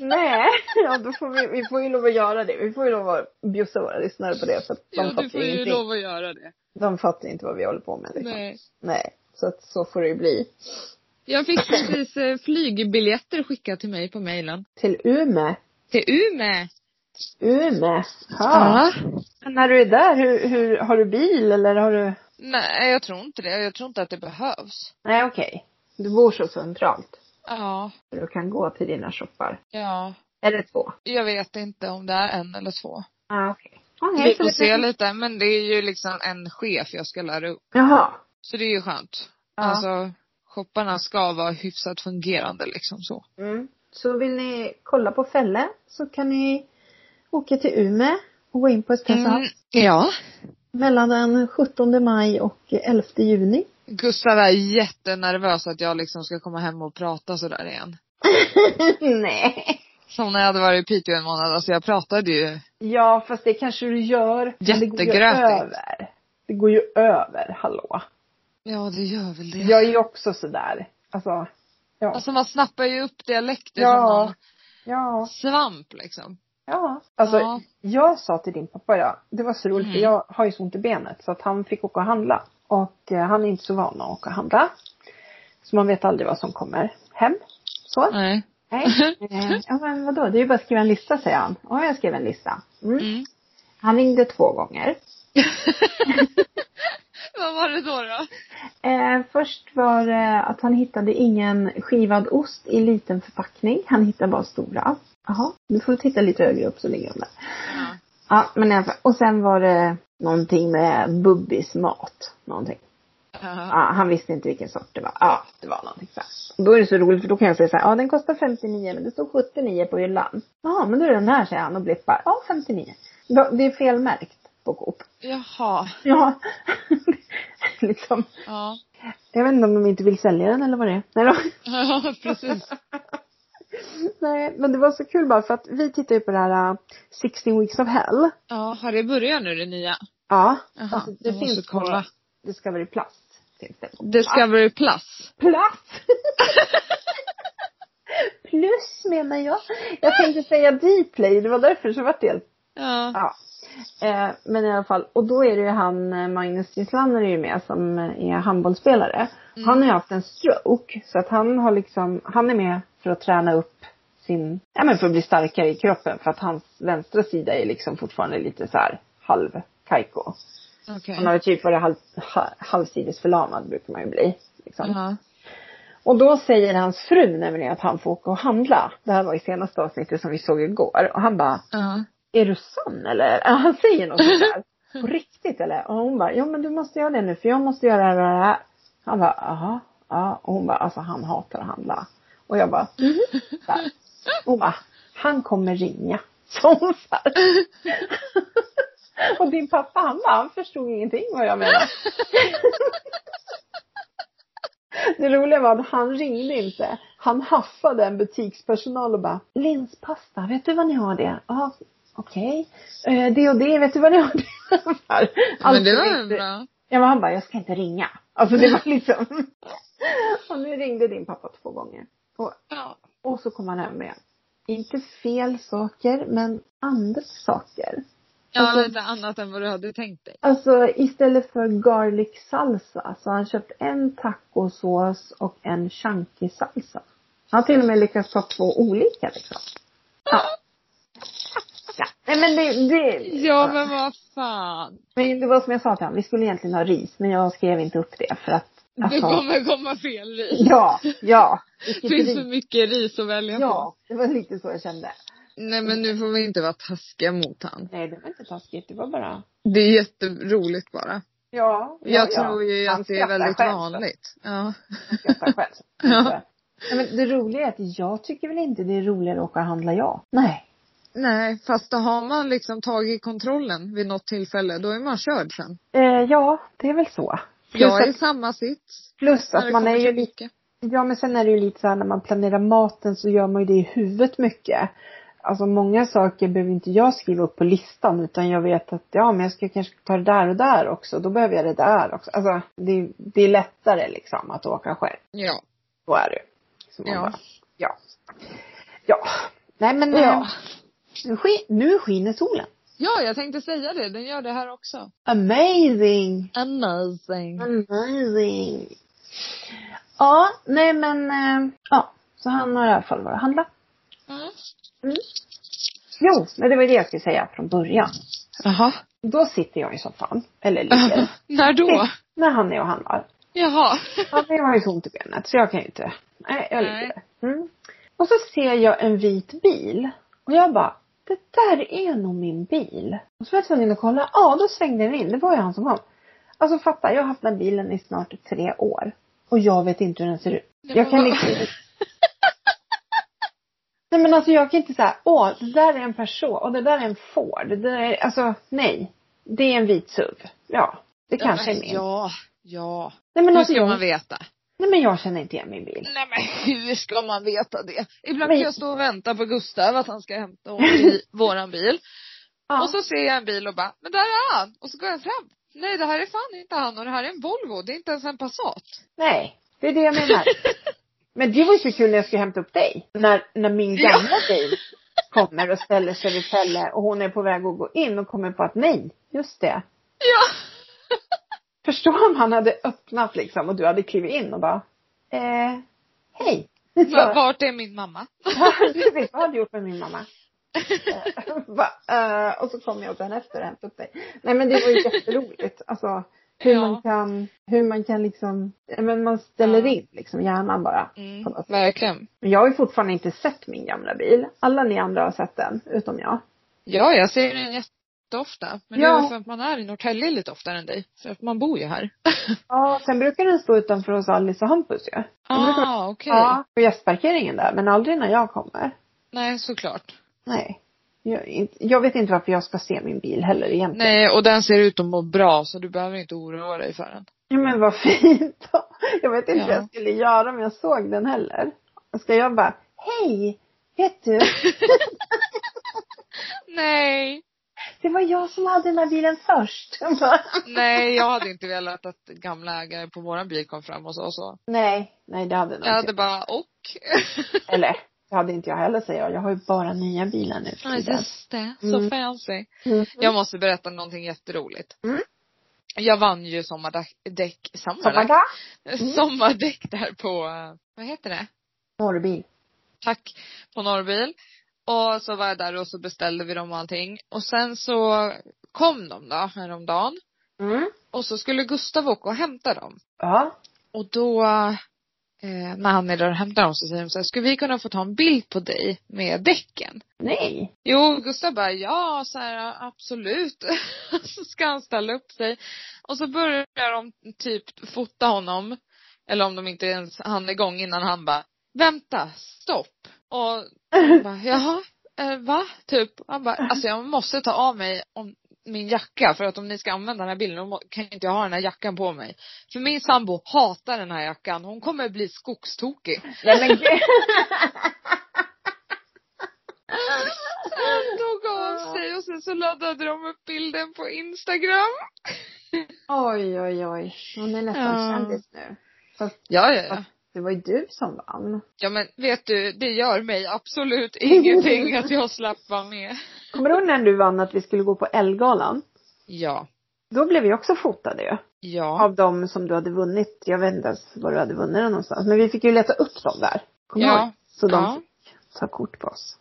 Speaker 2: Nej. Ja då får vi, vi får ju lov att göra det. Vi får ju lov att bjussa våra lyssnare på det för att de
Speaker 3: ja du
Speaker 2: fattar
Speaker 3: får
Speaker 2: ju
Speaker 3: ju
Speaker 2: ingenting.
Speaker 3: lov att göra det.
Speaker 2: De fattar inte vad vi håller på med liksom.
Speaker 3: Nej.
Speaker 2: Nej. Så att så får det ju bli.
Speaker 3: Jag fick precis eh, flygbiljetter skickat till mig på mejlen.
Speaker 2: Till Ume.
Speaker 3: Till Umeå.
Speaker 2: Ume. Ja.
Speaker 3: Ah.
Speaker 2: Men När du är där, hur, hur, har du bil eller har du?
Speaker 1: Nej jag tror inte det. Jag tror inte att det behövs.
Speaker 2: Nej okej. Du bor så centralt.
Speaker 1: Ja.
Speaker 2: så Du kan gå till dina shoppar.
Speaker 1: Ja.
Speaker 2: Eller två.
Speaker 1: Jag vet inte om det är en eller två.
Speaker 2: Ja okej. Okay.
Speaker 1: Vi får se lite men det är ju liksom en chef jag ska lära upp.
Speaker 2: Jaha.
Speaker 1: Så det är ju skönt.
Speaker 2: Ja.
Speaker 1: Alltså shopparna ska vara hyfsat fungerande liksom så.
Speaker 2: Mm. Så vill ni kolla på Fälle så kan ni åka till Ume och gå in på Espresso
Speaker 1: Mm,
Speaker 2: House
Speaker 1: ja.
Speaker 2: mellan den 17 maj och 11 juni.
Speaker 1: Gustav är jättenervös att jag liksom ska komma hem och prata sådär igen.
Speaker 2: Nej.
Speaker 1: Som när jag hade varit i Piteå en månad, alltså jag pratade ju.
Speaker 2: Ja fast det kanske du gör. men Det går ju
Speaker 1: Jättegrötigt.
Speaker 2: över. Det går ju över, hallå.
Speaker 1: Ja det gör väl det.
Speaker 2: Jag är ju också sådär. Alltså. Ja.
Speaker 1: Alltså man snappar ju upp dialekter
Speaker 2: Ja.
Speaker 1: som någon
Speaker 2: ja.
Speaker 1: svamp liksom.
Speaker 2: Ja, alltså
Speaker 1: Ja.
Speaker 2: jag sa till din pappa, ja, det var så roligt för
Speaker 1: Mm.
Speaker 2: jag har ju så ont i benet så att han fick åka och handla. Och eh, han är inte så van att åka och handla. Så man vet aldrig vad som kommer hem. Så.
Speaker 1: Nej.
Speaker 2: Nej. Eh, Ja men vadå, det är ju bara att skriva en lista säger han. Ja, jag skrev en lista. Mm.
Speaker 1: Mm.
Speaker 2: Han ringde två gånger.
Speaker 1: Vad var det då då?
Speaker 2: Eh, först var det att han hittade ingen skivad ost i liten förpackning. Han hittade bara stora. Jaha, du får titta lite högre upp så ligger de där.
Speaker 1: Ja.
Speaker 2: Ja, men i alla fall. Och sen var det någonting med Bubbis mat. Någonting.
Speaker 1: Ja.
Speaker 2: Ja, han visste inte vilken sort det var. Ja, det var någonting så här. Då är det så roligt för då kan jag säga så här, ja den kostar 59 men det står 79 på hyllan. Ja, men då är det den här säger han och blippar. Ja, 59. Då- Det är felmärkt på Coop.
Speaker 1: Jaha.
Speaker 2: Ja. liksom.
Speaker 1: Ja.
Speaker 2: Jag vet inte om de inte vill sälja den eller vad det är. Nej, då.
Speaker 1: Ja, precis.
Speaker 2: Nej, men det var så kul bara för att vi tittar ju på det här uh, 16 weeks of hell.
Speaker 1: Ja, har det börjat nu det nya?
Speaker 2: Ja.
Speaker 1: Jaha,
Speaker 2: alltså, det
Speaker 1: jag måste
Speaker 2: finns på-
Speaker 1: kolla.
Speaker 2: Det ska vara i plast. Finns det Ah, på
Speaker 1: Discovery Plus.
Speaker 2: plats. Plus menar jag. Jag tänkte säga Dplay, det var därför så vart det helt-
Speaker 1: Ja.
Speaker 2: Ja. Eh, men i alla fall, och då är det ju han eh, Magnus Gislander är ju med som eh, är handbollsspelare. Han har ju haft en stroke så att han har liksom, han är med för att träna upp sin, ja men för att bli starkare i kroppen för att hans vänstra sida är liksom fortfarande lite så här halv kajko.
Speaker 1: Okej.
Speaker 2: Han har ju typ varit halv, ha- halvsidesförlamad brukar man ju bli. Liksom.
Speaker 1: Jaha.
Speaker 2: Och då säger hans fru nämligen att han får åka och handla. Det här var i senaste avsnittet som vi såg igår. Och han bara,
Speaker 1: Ja.
Speaker 2: är du sann eller? Ja, Han säger något sånt där. På riktigt eller? Och hon bara, ja men du måste göra det nu för jag måste göra det här och det här. Han bara, jaha. Ja. Och hon bara, alltså han hatar att handla. Och jag bara, mhm. Så här. Hon bara, han kommer ringa. Så hon så här. Och din pappa han bara, han förstod ingenting vad jag menade. Det roliga var att han ringde inte. Han haffade en butikspersonal och bara, linspasta, vet du vad ni har det? Ja, okej. Eh, det och det, vet du vad ni har det?
Speaker 1: Men det
Speaker 2: Alltid
Speaker 1: var
Speaker 2: inte-
Speaker 1: bra.
Speaker 2: Ja, men han bara, jag ska inte ringa. Alltså det var liksom. och nu ringde din pappa två gånger. Och,
Speaker 1: Ja.
Speaker 2: och så kom han hem med, inte fel saker, men andra saker.
Speaker 1: Ja, lite annat än vad du hade tänkt dig.
Speaker 2: Alltså istället för garlic salsa så har han köpt en tacosås och en chunky salsa. Han har till och med lyckats ta två olika liksom. Ja. ja. Nej men det, det
Speaker 1: Ja, men vad fan.
Speaker 2: men det var som jag sa till honom, vi skulle egentligen ha ris men jag skrev inte upp det för att alltså,
Speaker 1: Det kommer komma fel ris.
Speaker 2: Ja, ja.
Speaker 1: Det
Speaker 2: Vilket
Speaker 1: finns
Speaker 2: ris.
Speaker 1: så mycket ris att välja på.
Speaker 2: Ja, det var lite så jag kände.
Speaker 1: Nej, men nu får vi inte vara taskiga mot han.
Speaker 2: Nej, det var inte taskigt, det var bara
Speaker 1: Det är jätteroligt bara.
Speaker 2: Ja, ja
Speaker 1: Jag
Speaker 2: ja.
Speaker 1: tror ju
Speaker 2: Han
Speaker 1: att det är
Speaker 2: skrattar
Speaker 1: väldigt
Speaker 2: själv.
Speaker 1: vanligt. Ja.
Speaker 2: skrattar själv.
Speaker 1: Ja.
Speaker 2: Nej, men det roliga är att jag tycker väl inte det är roligare att åka och handla jag. Nej.
Speaker 1: Nej, fast då har man liksom tagit kontrollen vid något tillfälle, då är man körd sen.
Speaker 2: Eh, ja, det är väl så. Plus
Speaker 1: Jag är i
Speaker 2: att,
Speaker 1: samma sits.
Speaker 2: plus
Speaker 1: när
Speaker 2: att
Speaker 1: det
Speaker 2: man är
Speaker 1: kommer
Speaker 2: ju
Speaker 1: till
Speaker 2: lite,
Speaker 1: mycket.
Speaker 2: ja men sen är det ju lite så här när man planerar maten så gör man ju det i huvudet mycket. Alltså många saker behöver inte jag skriva upp på listan utan jag vet att ja men jag ska kanske ta det där och där också. Då behöver jag det där också. Alltså det, det är lättare liksom att åka själv.
Speaker 1: Ja.
Speaker 2: Så är det. Så man
Speaker 1: Ja.
Speaker 2: bara, ja. Ja. Nej men
Speaker 1: Ja.
Speaker 2: ja. Nu, sk- nu skiner solen.
Speaker 1: ja, jag tänkte säga det. Den gör det här också.
Speaker 2: Amazing.
Speaker 1: Amazing.
Speaker 2: Mm. Amazing. Ja, nej men eh, ja. Så han har i alla fall varit och handlat.
Speaker 1: Mm.
Speaker 2: Jo, men det var det jag skulle säga från början.
Speaker 1: Jaha.
Speaker 2: Då sitter jag i soffan, eller ligger,
Speaker 1: När då?
Speaker 2: när han är och handlar.
Speaker 1: Jaha.
Speaker 2: Ja, men jag har ju så ont i benet så jag kan ju inte. Nej, jag ligger
Speaker 1: Nej.
Speaker 2: där. Mm. Och så ser jag en vit bil. Och jag bara, det där är nog min bil. Och så var jag tvungen att kolla. Ja, då svängde den in. Det var ju han som kom. Alltså fatta, jag har haft den här bilen i snart tre år. Och jag vet inte hur den ser ut.
Speaker 1: Nej,
Speaker 2: jag
Speaker 1: men
Speaker 2: kan
Speaker 1: vad-
Speaker 2: liksom Nej men alltså jag kan inte säga, åh det där är en Peugeot och det där är en Ford. Det där är, alltså nej. Det är en vit SUV. Ja, det kanske är min.
Speaker 1: Ja, ja.
Speaker 2: Nej men
Speaker 1: Hur
Speaker 2: alltså
Speaker 1: ska man
Speaker 2: jag,
Speaker 1: veta?
Speaker 2: nej men jag känner inte igen min bil.
Speaker 1: Nej men hur ska man veta det? Ibland
Speaker 2: Men-
Speaker 1: kan jag stå och vänta på Gustav att han ska hämta honom i våran bil.
Speaker 2: Ja.
Speaker 1: Och så ser jag en bil och bara, men där är han! Och så går jag fram. Nej det här är fan inte han och det här är en Volvo, det är inte ens en Passat.
Speaker 2: Nej, det är det jag menar. Men det var ju så kul när jag skulle hämta upp dig. När, när min
Speaker 1: Ja.
Speaker 2: gamla bil kommer och ställer sig vid Pelle och hon är på väg att gå in och kommer på att nej, just det.
Speaker 1: Ja!
Speaker 2: Förstå om han hade öppnat liksom och du hade klivit in och bara, eh, hej.
Speaker 1: Va-
Speaker 2: Så,
Speaker 1: Vart är min mamma?
Speaker 2: precis, vad har du gjort med min mamma? Eh, va, eh, och så kom jag sen efter och hämtade upp dig. Nej men det var ju jätteroligt. Alltså hur
Speaker 1: Ja.
Speaker 2: man kan, hur man kan liksom, eh, men man ställer
Speaker 1: Ja.
Speaker 2: in liksom hjärnan bara.
Speaker 1: Mm,
Speaker 2: På något sätt.
Speaker 1: verkligen.
Speaker 2: Men jag har ju fortfarande inte sett min gamla bil. Alla ni andra har sett den, utom jag.
Speaker 1: Ja, jag ser den jätteofta. Men det
Speaker 2: Ja.
Speaker 1: är väl för att man är i Norrtälje lite oftare än dig. För att man bor ju här.
Speaker 2: Ja, sen brukar den stå utanför hos Alice och Hampus ju. brukar
Speaker 1: Ah, okej.
Speaker 2: Ja. På gästparkeringen där, men aldrig när jag kommer.
Speaker 1: Nej, såklart.
Speaker 2: Nej. Jag, inte- jag vet inte varför jag ska se min bil heller egentligen.
Speaker 1: Nej, och den ser ut att må bra så du behöver inte oroa dig för den.
Speaker 2: Ja, men vad fint då. Jag vet inte
Speaker 1: Ja.
Speaker 2: vad jag skulle göra om jag såg den heller. Ska jag bara, hej! Vet du,
Speaker 1: Nej.
Speaker 2: det var jag som hade den här bilen först. Jag bara,
Speaker 1: Nej, jag hade inte velat att gamla ägare på våran bil kom fram och sa så.
Speaker 2: nej, nej det hade nog
Speaker 1: Jag hade
Speaker 2: inte
Speaker 1: bara, och?
Speaker 2: Eller, det hade inte jag heller säger jag. Jag har ju bara nya bilar nu för
Speaker 1: Ja,
Speaker 2: tiden.
Speaker 1: just det.
Speaker 2: Mm.
Speaker 1: Så fancy.
Speaker 2: Mm.
Speaker 1: Jag måste berätta någonting jätteroligt.
Speaker 2: Mm.
Speaker 1: Jag vann ju sommardäck, sommardäck,
Speaker 2: Sommardag. Mm.
Speaker 1: sommardäck där på, eh, vad heter det?
Speaker 2: Norrbil.
Speaker 1: Tack, på Norrbil. Och så var jag där och så beställde vi dem och allting. Och sen så kom de då häromdagen.
Speaker 2: Mm.
Speaker 1: Och så skulle Gustav åka och hämta dem.
Speaker 2: Ja.
Speaker 1: Och då, eh, när han är där och hämtar dem så säger de så här, skulle vi kunna få ta en bild på dig med däcken?
Speaker 2: Nej.
Speaker 1: Jo, Gustav bara, ja, så här, absolut. så ska han ställa upp sig. Och så börjar de typ fota honom. Eller om de inte ens hann igång innan han bara, vänta, stopp. Och han bara, jaha, eh, va? Typ. Han bara, alltså jag måste ta av mig om min jacka för att om ni ska använda den här bilden då må- kan inte jag ha den här jackan på mig. För min sambo hatar den här jackan. Hon kommer bli skogstokig.
Speaker 2: Nej men gud.
Speaker 1: Han tog av sig och sen så laddade de upp bilden på Instagram.
Speaker 2: Oj, oj, oj. Hon är nästan
Speaker 1: Ja.
Speaker 2: kändis nu. Fast
Speaker 1: Ja, ja, ja.
Speaker 2: det var ju du som vann.
Speaker 1: Ja men vet du, det gör mig absolut ingenting att jag slapp vara med.
Speaker 2: Kommer du ihåg när du vann att vi skulle gå på Elgalan?
Speaker 1: Ja.
Speaker 2: Då blev vi också fotade ju.
Speaker 1: Ja.
Speaker 2: Av dem som du hade vunnit. Jag vet inte ens var du hade vunnit den någonstans. Men vi fick ju leta upp dem där. Kommer du ihåg?
Speaker 1: Ja.
Speaker 2: Så de
Speaker 1: ja.
Speaker 2: fick ta kort på oss.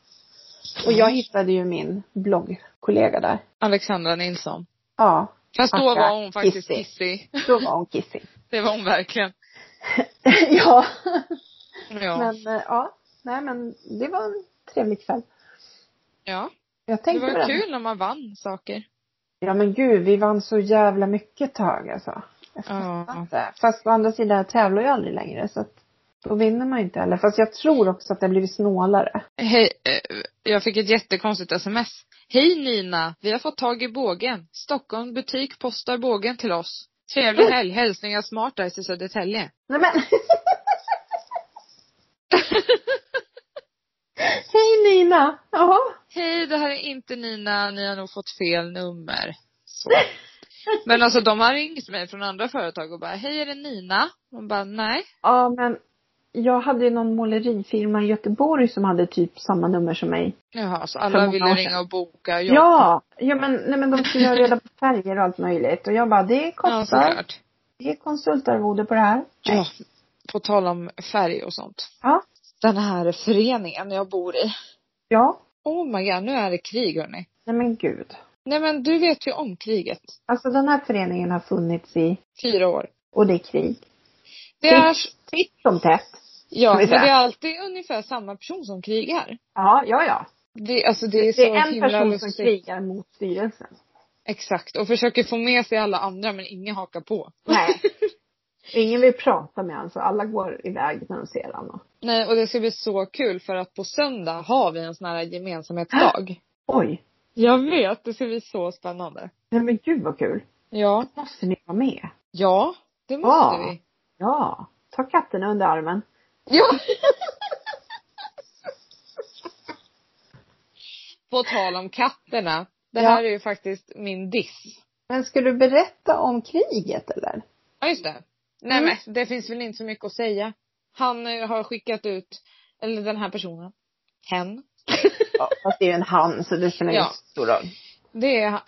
Speaker 2: Och jag hittade ju min bloggkollega där.
Speaker 1: Alexandra Nilsson.
Speaker 2: Ja,
Speaker 1: Fast då
Speaker 2: Akka,
Speaker 1: var hon faktiskt
Speaker 2: kissig.
Speaker 1: Alltså, kissig.
Speaker 2: då var hon kissig.
Speaker 1: Det var hon verkligen.
Speaker 2: ja.
Speaker 1: Ja.
Speaker 2: men eh, ja. Nej men det var en trevlig kväll.
Speaker 1: ja.
Speaker 2: Jag
Speaker 1: Det
Speaker 2: tänkte på
Speaker 1: var
Speaker 2: den.
Speaker 1: kul när man vann saker.
Speaker 2: Ja men gud, vi vann så jävla mycket tag alltså. Jag
Speaker 1: Ja.
Speaker 2: fattar inte. Fast å andra sidan jag tävlar jag aldrig längre så att då vinner man ju inte heller. Fast jag tror också att jag blivit snålare.
Speaker 1: Hej, eh, jag fick ett jättekonstigt sms. Hej Nina, vi har fått tag i bågen. Stockholm butik postar bågen till oss. Trevlig helg, hälsningar Smartice i Södertälje.
Speaker 2: Nej men. Hej Nina! Jaha.
Speaker 1: Hej, det här är inte Nina, ni har nog fått fel nummer. Så. Men alltså de har ringt mig från andra företag och bara, hej är det Nina? Man bara, nej.
Speaker 2: Ja men jag hade ju någon målerifirma i Göteborg som hade typ samma nummer som mig.
Speaker 1: Jaha, så
Speaker 2: För
Speaker 1: alla
Speaker 2: många år
Speaker 1: ville
Speaker 2: sedan.
Speaker 1: ringa och boka jobb.
Speaker 2: Ja! Ja men, nej, men de skulle ha reda på färger och allt möjligt. Och jag bara, det
Speaker 1: ja
Speaker 2: kostar.
Speaker 1: såklart.
Speaker 2: det är konsultarvode på det här.
Speaker 1: Ja, på tal om färg och sånt.
Speaker 2: Ja.
Speaker 1: Den här föreningen jag bor i.
Speaker 2: Ja.
Speaker 1: Oh my god, nu är det krig hörni.
Speaker 2: Nej men gud.
Speaker 1: Nej men du vet ju om kriget.
Speaker 2: Alltså den här föreningen har funnits i,
Speaker 1: Fyra år.
Speaker 2: och det är krig.
Speaker 1: Det är,
Speaker 2: Titt som tätt.
Speaker 1: ja,
Speaker 2: Kan vi
Speaker 1: men det
Speaker 2: säga.
Speaker 1: är alltid ungefär samma person som krigar.
Speaker 2: Ja, ja, ja.
Speaker 1: Det, alltså det är så
Speaker 2: Det är en
Speaker 1: himla
Speaker 2: person som
Speaker 1: lustigt.
Speaker 2: krigar mot styrelsen.
Speaker 1: Exakt, och försöker få med sig alla andra men ingen hakar på.
Speaker 2: Nej. Ingen vill prata med honom så alla går iväg när de ser honom.
Speaker 1: Nej, och det ska bli så kul för att på söndag har vi en sån här gemensamhetsdag.
Speaker 2: Oj.
Speaker 1: Jag vet, det ska bli så spännande.
Speaker 2: Nej men gud vad kul.
Speaker 1: Ja.
Speaker 2: Måste ni vara med?
Speaker 1: Ja, det måste
Speaker 2: Ja.
Speaker 1: vi.
Speaker 2: Ja. Ta katterna under armen.
Speaker 1: Ja. på tal om katterna. Det
Speaker 2: Ja.
Speaker 1: här är ju faktiskt min diss.
Speaker 2: Men ska du berätta om kriget eller?
Speaker 1: Ja, just det. Nej
Speaker 2: Mm.
Speaker 1: men det finns väl inte så mycket att säga. Han eh, har skickat ut, eller den här personen, hen.
Speaker 2: Ja, fast det är ju en han så det spelar ju
Speaker 1: Ja.
Speaker 2: inte så stor roll.
Speaker 1: Det är eh,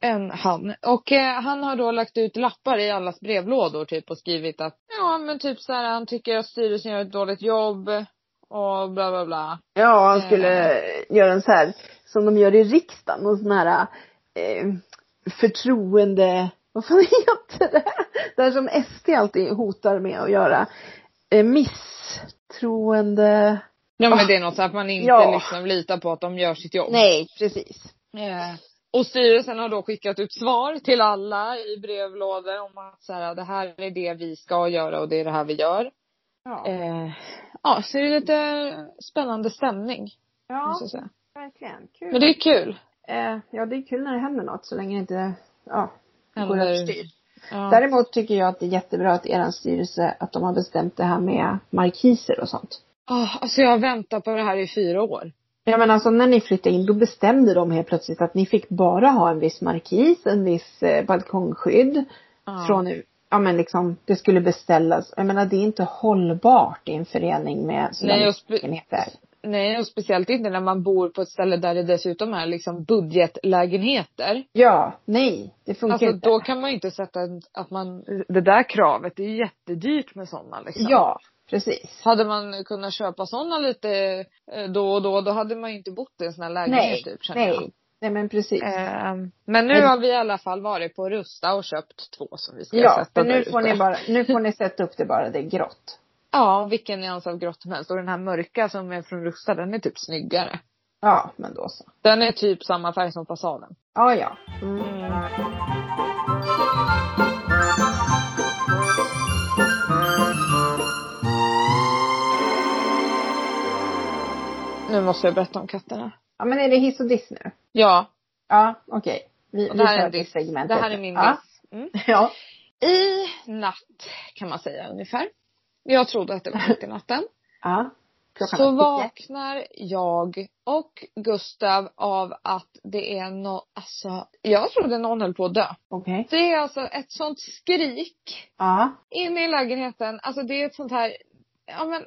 Speaker 1: en han. Och eh, han har då lagt ut lappar i allas brevlådor typ och skrivit att ja men typ så här han tycker att styrelsen gör ett dåligt jobb och bla bla bla.
Speaker 2: Ja, han skulle göra en så här som de gör i riksdagen, och sån här eh, förtroende, vad fan heter det? Det här som SD alltid hotar med att göra. Eh, misstroende.
Speaker 1: Ja men det är något så att man inte
Speaker 2: Ja.
Speaker 1: liksom litar på att de gör sitt jobb.
Speaker 2: Nej, precis.
Speaker 1: Eh, Och styrelsen har då skickat ut svar till alla i brevlådor om att så här, det här är det vi ska göra och det är det här vi gör.
Speaker 2: Ja,
Speaker 1: Eh, ja, så det är lite spännande stämning.
Speaker 2: ja
Speaker 1: måste jag säga.
Speaker 2: verkligen. Kul.
Speaker 1: Men det är kul.
Speaker 2: Eh, ja, det är kul när det händer något så länge det inte ja, det går
Speaker 1: Händer.
Speaker 2: överstyr.
Speaker 1: Ja.
Speaker 2: Däremot tycker jag att det är jättebra att er styrelse, att de har bestämt det här med markiser och sånt.
Speaker 1: Oh, alltså jag har väntat på det här i fyra år.
Speaker 2: Ja men alltså när ni flyttade in då bestämde de helt plötsligt att ni fick bara ha en viss markis, en viss eh, balkongskydd.
Speaker 1: Ja.
Speaker 2: Från, ja men liksom det skulle beställas. Jag menar det är inte hållbart i en förening med
Speaker 1: Nej,
Speaker 2: sådana
Speaker 1: och spe-
Speaker 2: lägenheter.
Speaker 1: Nej, och speciellt inte när man bor på ett ställe där det dessutom är liksom budgetlägenheter.
Speaker 2: Ja, nej, det funkar
Speaker 1: Alltså
Speaker 2: inte.
Speaker 1: då kan man ju inte sätta en- att man, det där kravet, det är ju jättedyrt med sådana liksom.
Speaker 2: Ja, precis.
Speaker 1: Hade man kunnat köpa sådana lite eh, då och då, då hade man ju inte bott i en sån här lägenhet
Speaker 2: Nej,
Speaker 1: typ känner jag.
Speaker 2: nej. Nej men precis.
Speaker 1: Ehm, men nu
Speaker 2: Men-
Speaker 1: har vi i alla fall varit på Rusta och köpt två som vi ska
Speaker 2: ja,
Speaker 1: sätta
Speaker 2: men nu
Speaker 1: där
Speaker 2: får,
Speaker 1: ute.
Speaker 2: ni bara, nu får ni sätta upp det bara, det är grått.
Speaker 1: Ja, vilken nyans av grått som helst. Och den här mörka som är från Rusta, den är typ snyggare.
Speaker 2: Ja, men då så.
Speaker 1: Den är typ samma färg som fasaden.
Speaker 2: Ja, ja.
Speaker 1: Nu måste jag berätta om katterna.
Speaker 2: Ja men är det hiss och diss nu?
Speaker 1: Ja,
Speaker 2: Ja, okej. Vi,
Speaker 1: och
Speaker 2: vi
Speaker 1: det här
Speaker 2: tar
Speaker 1: är en diss.
Speaker 2: segmentet.
Speaker 1: Det här är min
Speaker 2: ja.
Speaker 1: diss. Mm.
Speaker 2: Ja.
Speaker 1: I natt kan man säga ungefär. Jag trodde att det var mitt i natten.
Speaker 2: ja. Klockan
Speaker 1: Så
Speaker 2: är tio.
Speaker 1: vaknar jag och Gustav av att det är nå, alltså jag trodde någon höll på att dö.
Speaker 2: Okej.
Speaker 1: Det är alltså ett sånt skrik
Speaker 2: Ja.
Speaker 1: inne i lägenheten. Alltså det är ett sånt här, ja men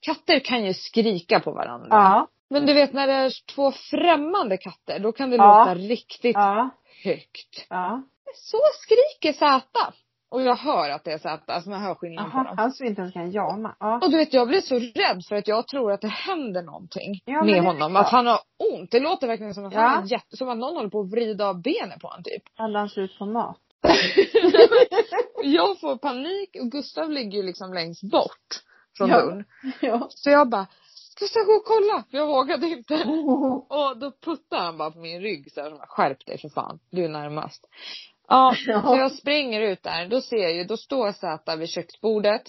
Speaker 1: katter kan ju skrika på varandra.
Speaker 2: Ja.
Speaker 1: Men du vet när det är två främmande katter då kan det
Speaker 2: Ja.
Speaker 1: låta riktigt
Speaker 2: Ja.
Speaker 1: högt.
Speaker 2: Ja.
Speaker 1: Så skriker Zäta. Och jag hör att det är Zäta, alltså man hör skillnaden på
Speaker 2: Jaha,
Speaker 1: dem.
Speaker 2: han som inte ens kan jama. Ja.
Speaker 1: Och du vet jag blir så rädd för att jag tror att det händer någonting
Speaker 2: Ja, men det
Speaker 1: med
Speaker 2: är
Speaker 1: honom.
Speaker 2: klart.
Speaker 1: Att han har ont. Det låter verkligen som att,
Speaker 2: Ja.
Speaker 1: han är jätte, som att någon håller på att vrida av benen på honom typ.
Speaker 2: Hade han slut på mat?
Speaker 1: jag får panik och Gustav ligger ju liksom längst bort från
Speaker 2: Ja.
Speaker 1: dörren.
Speaker 2: Ja.
Speaker 1: Så jag bara, Gustav gå och kolla. För jag vågade inte. Och då puttade han bara på min rygg så här, som bara, skärp dig för fan, du är närmast. Ja,
Speaker 2: Ja.
Speaker 1: så jag springer ut där, då ser jag ju, då står Zäta vid köksbordet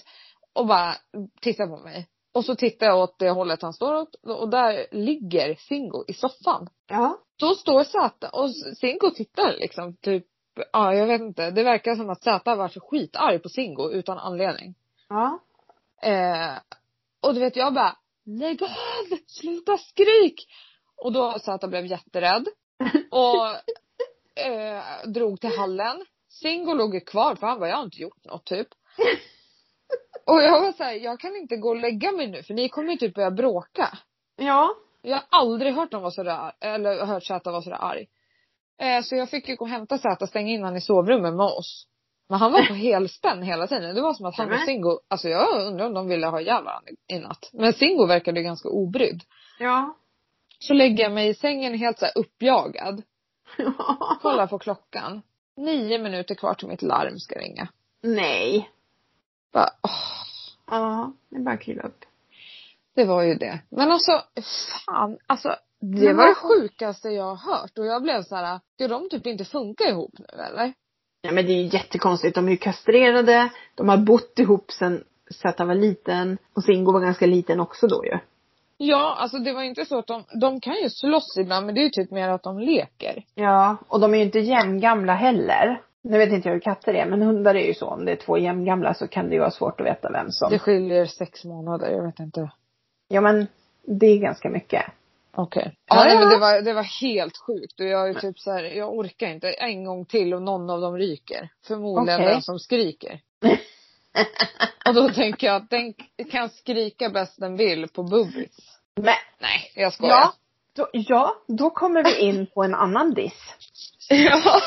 Speaker 1: och bara tittar på mig. Och så tittar jag åt det hållet han står åt och där ligger Singo i soffan.
Speaker 2: Ja.
Speaker 1: Då står Zäta och Singo tittar liksom typ, ja jag vet inte, det verkar som att Zäta var så skitarg på Singo utan anledning.
Speaker 2: Ja.
Speaker 1: Eh, och du vet jag bara, lägg av, sluta skrik! Och då så att jag blev jätterädd. Och eh, drog till hallen. Singo låg ju kvar för han bara, jag har inte gjort något typ. Och jag var såhär, jag kan inte gå och lägga mig nu för ni kommer ju typ börja bråka.
Speaker 2: Ja.
Speaker 1: Jag har aldrig hört dem vara sådär, eller hört Zäta vara sådär arg. Eh, så jag fick ju gå och hämta Zäta och stänga in han i sovrummet med oss. Men han var på helspänn hela tiden. Det var som att han och
Speaker 2: Nämen.
Speaker 1: Singo, alltså jag undrar om de ville ha ihjäl varandra i natt. Men Singo verkade ju ganska obrydd.
Speaker 2: Ja.
Speaker 1: Så lägger jag mig i sängen helt såhär uppjagad. Kollar på klockan. Nio minuter kvar till mitt larm ska ringa.
Speaker 2: Nej.
Speaker 1: Bara, åh,
Speaker 2: Ja. Det är bara att kliva upp.
Speaker 1: det var ju det. Men alltså, fan. Alltså, det
Speaker 2: Men
Speaker 1: var det
Speaker 2: varför-
Speaker 1: sjukaste jag har hört. Och jag blev såhär, ska de typ inte funka ihop nu eller?
Speaker 2: Ja men det är ju jättekonstigt. De är ju kastrerade. De har bott ihop sen Zäta var liten. Och Singo var ganska liten också då ju.
Speaker 1: Ja, alltså det var inte så att de, de kan ju slåss ibland men det är ju typ mer att de leker.
Speaker 2: Ja, och de är ju inte jämngamla heller. Nu vet inte jag hur katter är, men hundar är ju så. Om det är två jämngamla så kan det ju vara svårt att veta vem som...
Speaker 1: Det skiljer sex månader, jag vet inte.
Speaker 2: Ja, men det är ganska mycket.
Speaker 1: Okej.
Speaker 2: Ja,
Speaker 1: Ja, nej,
Speaker 2: ja.
Speaker 1: men det var, det var helt sjukt och jag är ju typ så här, jag orkar inte en gång till och någon av dem ryker. Förmodligen
Speaker 2: Okej.
Speaker 1: den som skriker. och då tänker jag att den kan skrika bäst den vill på bubbis.
Speaker 2: Men
Speaker 1: Nej, jag skojar.
Speaker 2: ja då, ja, då kommer vi in på en annan diss.
Speaker 1: ja.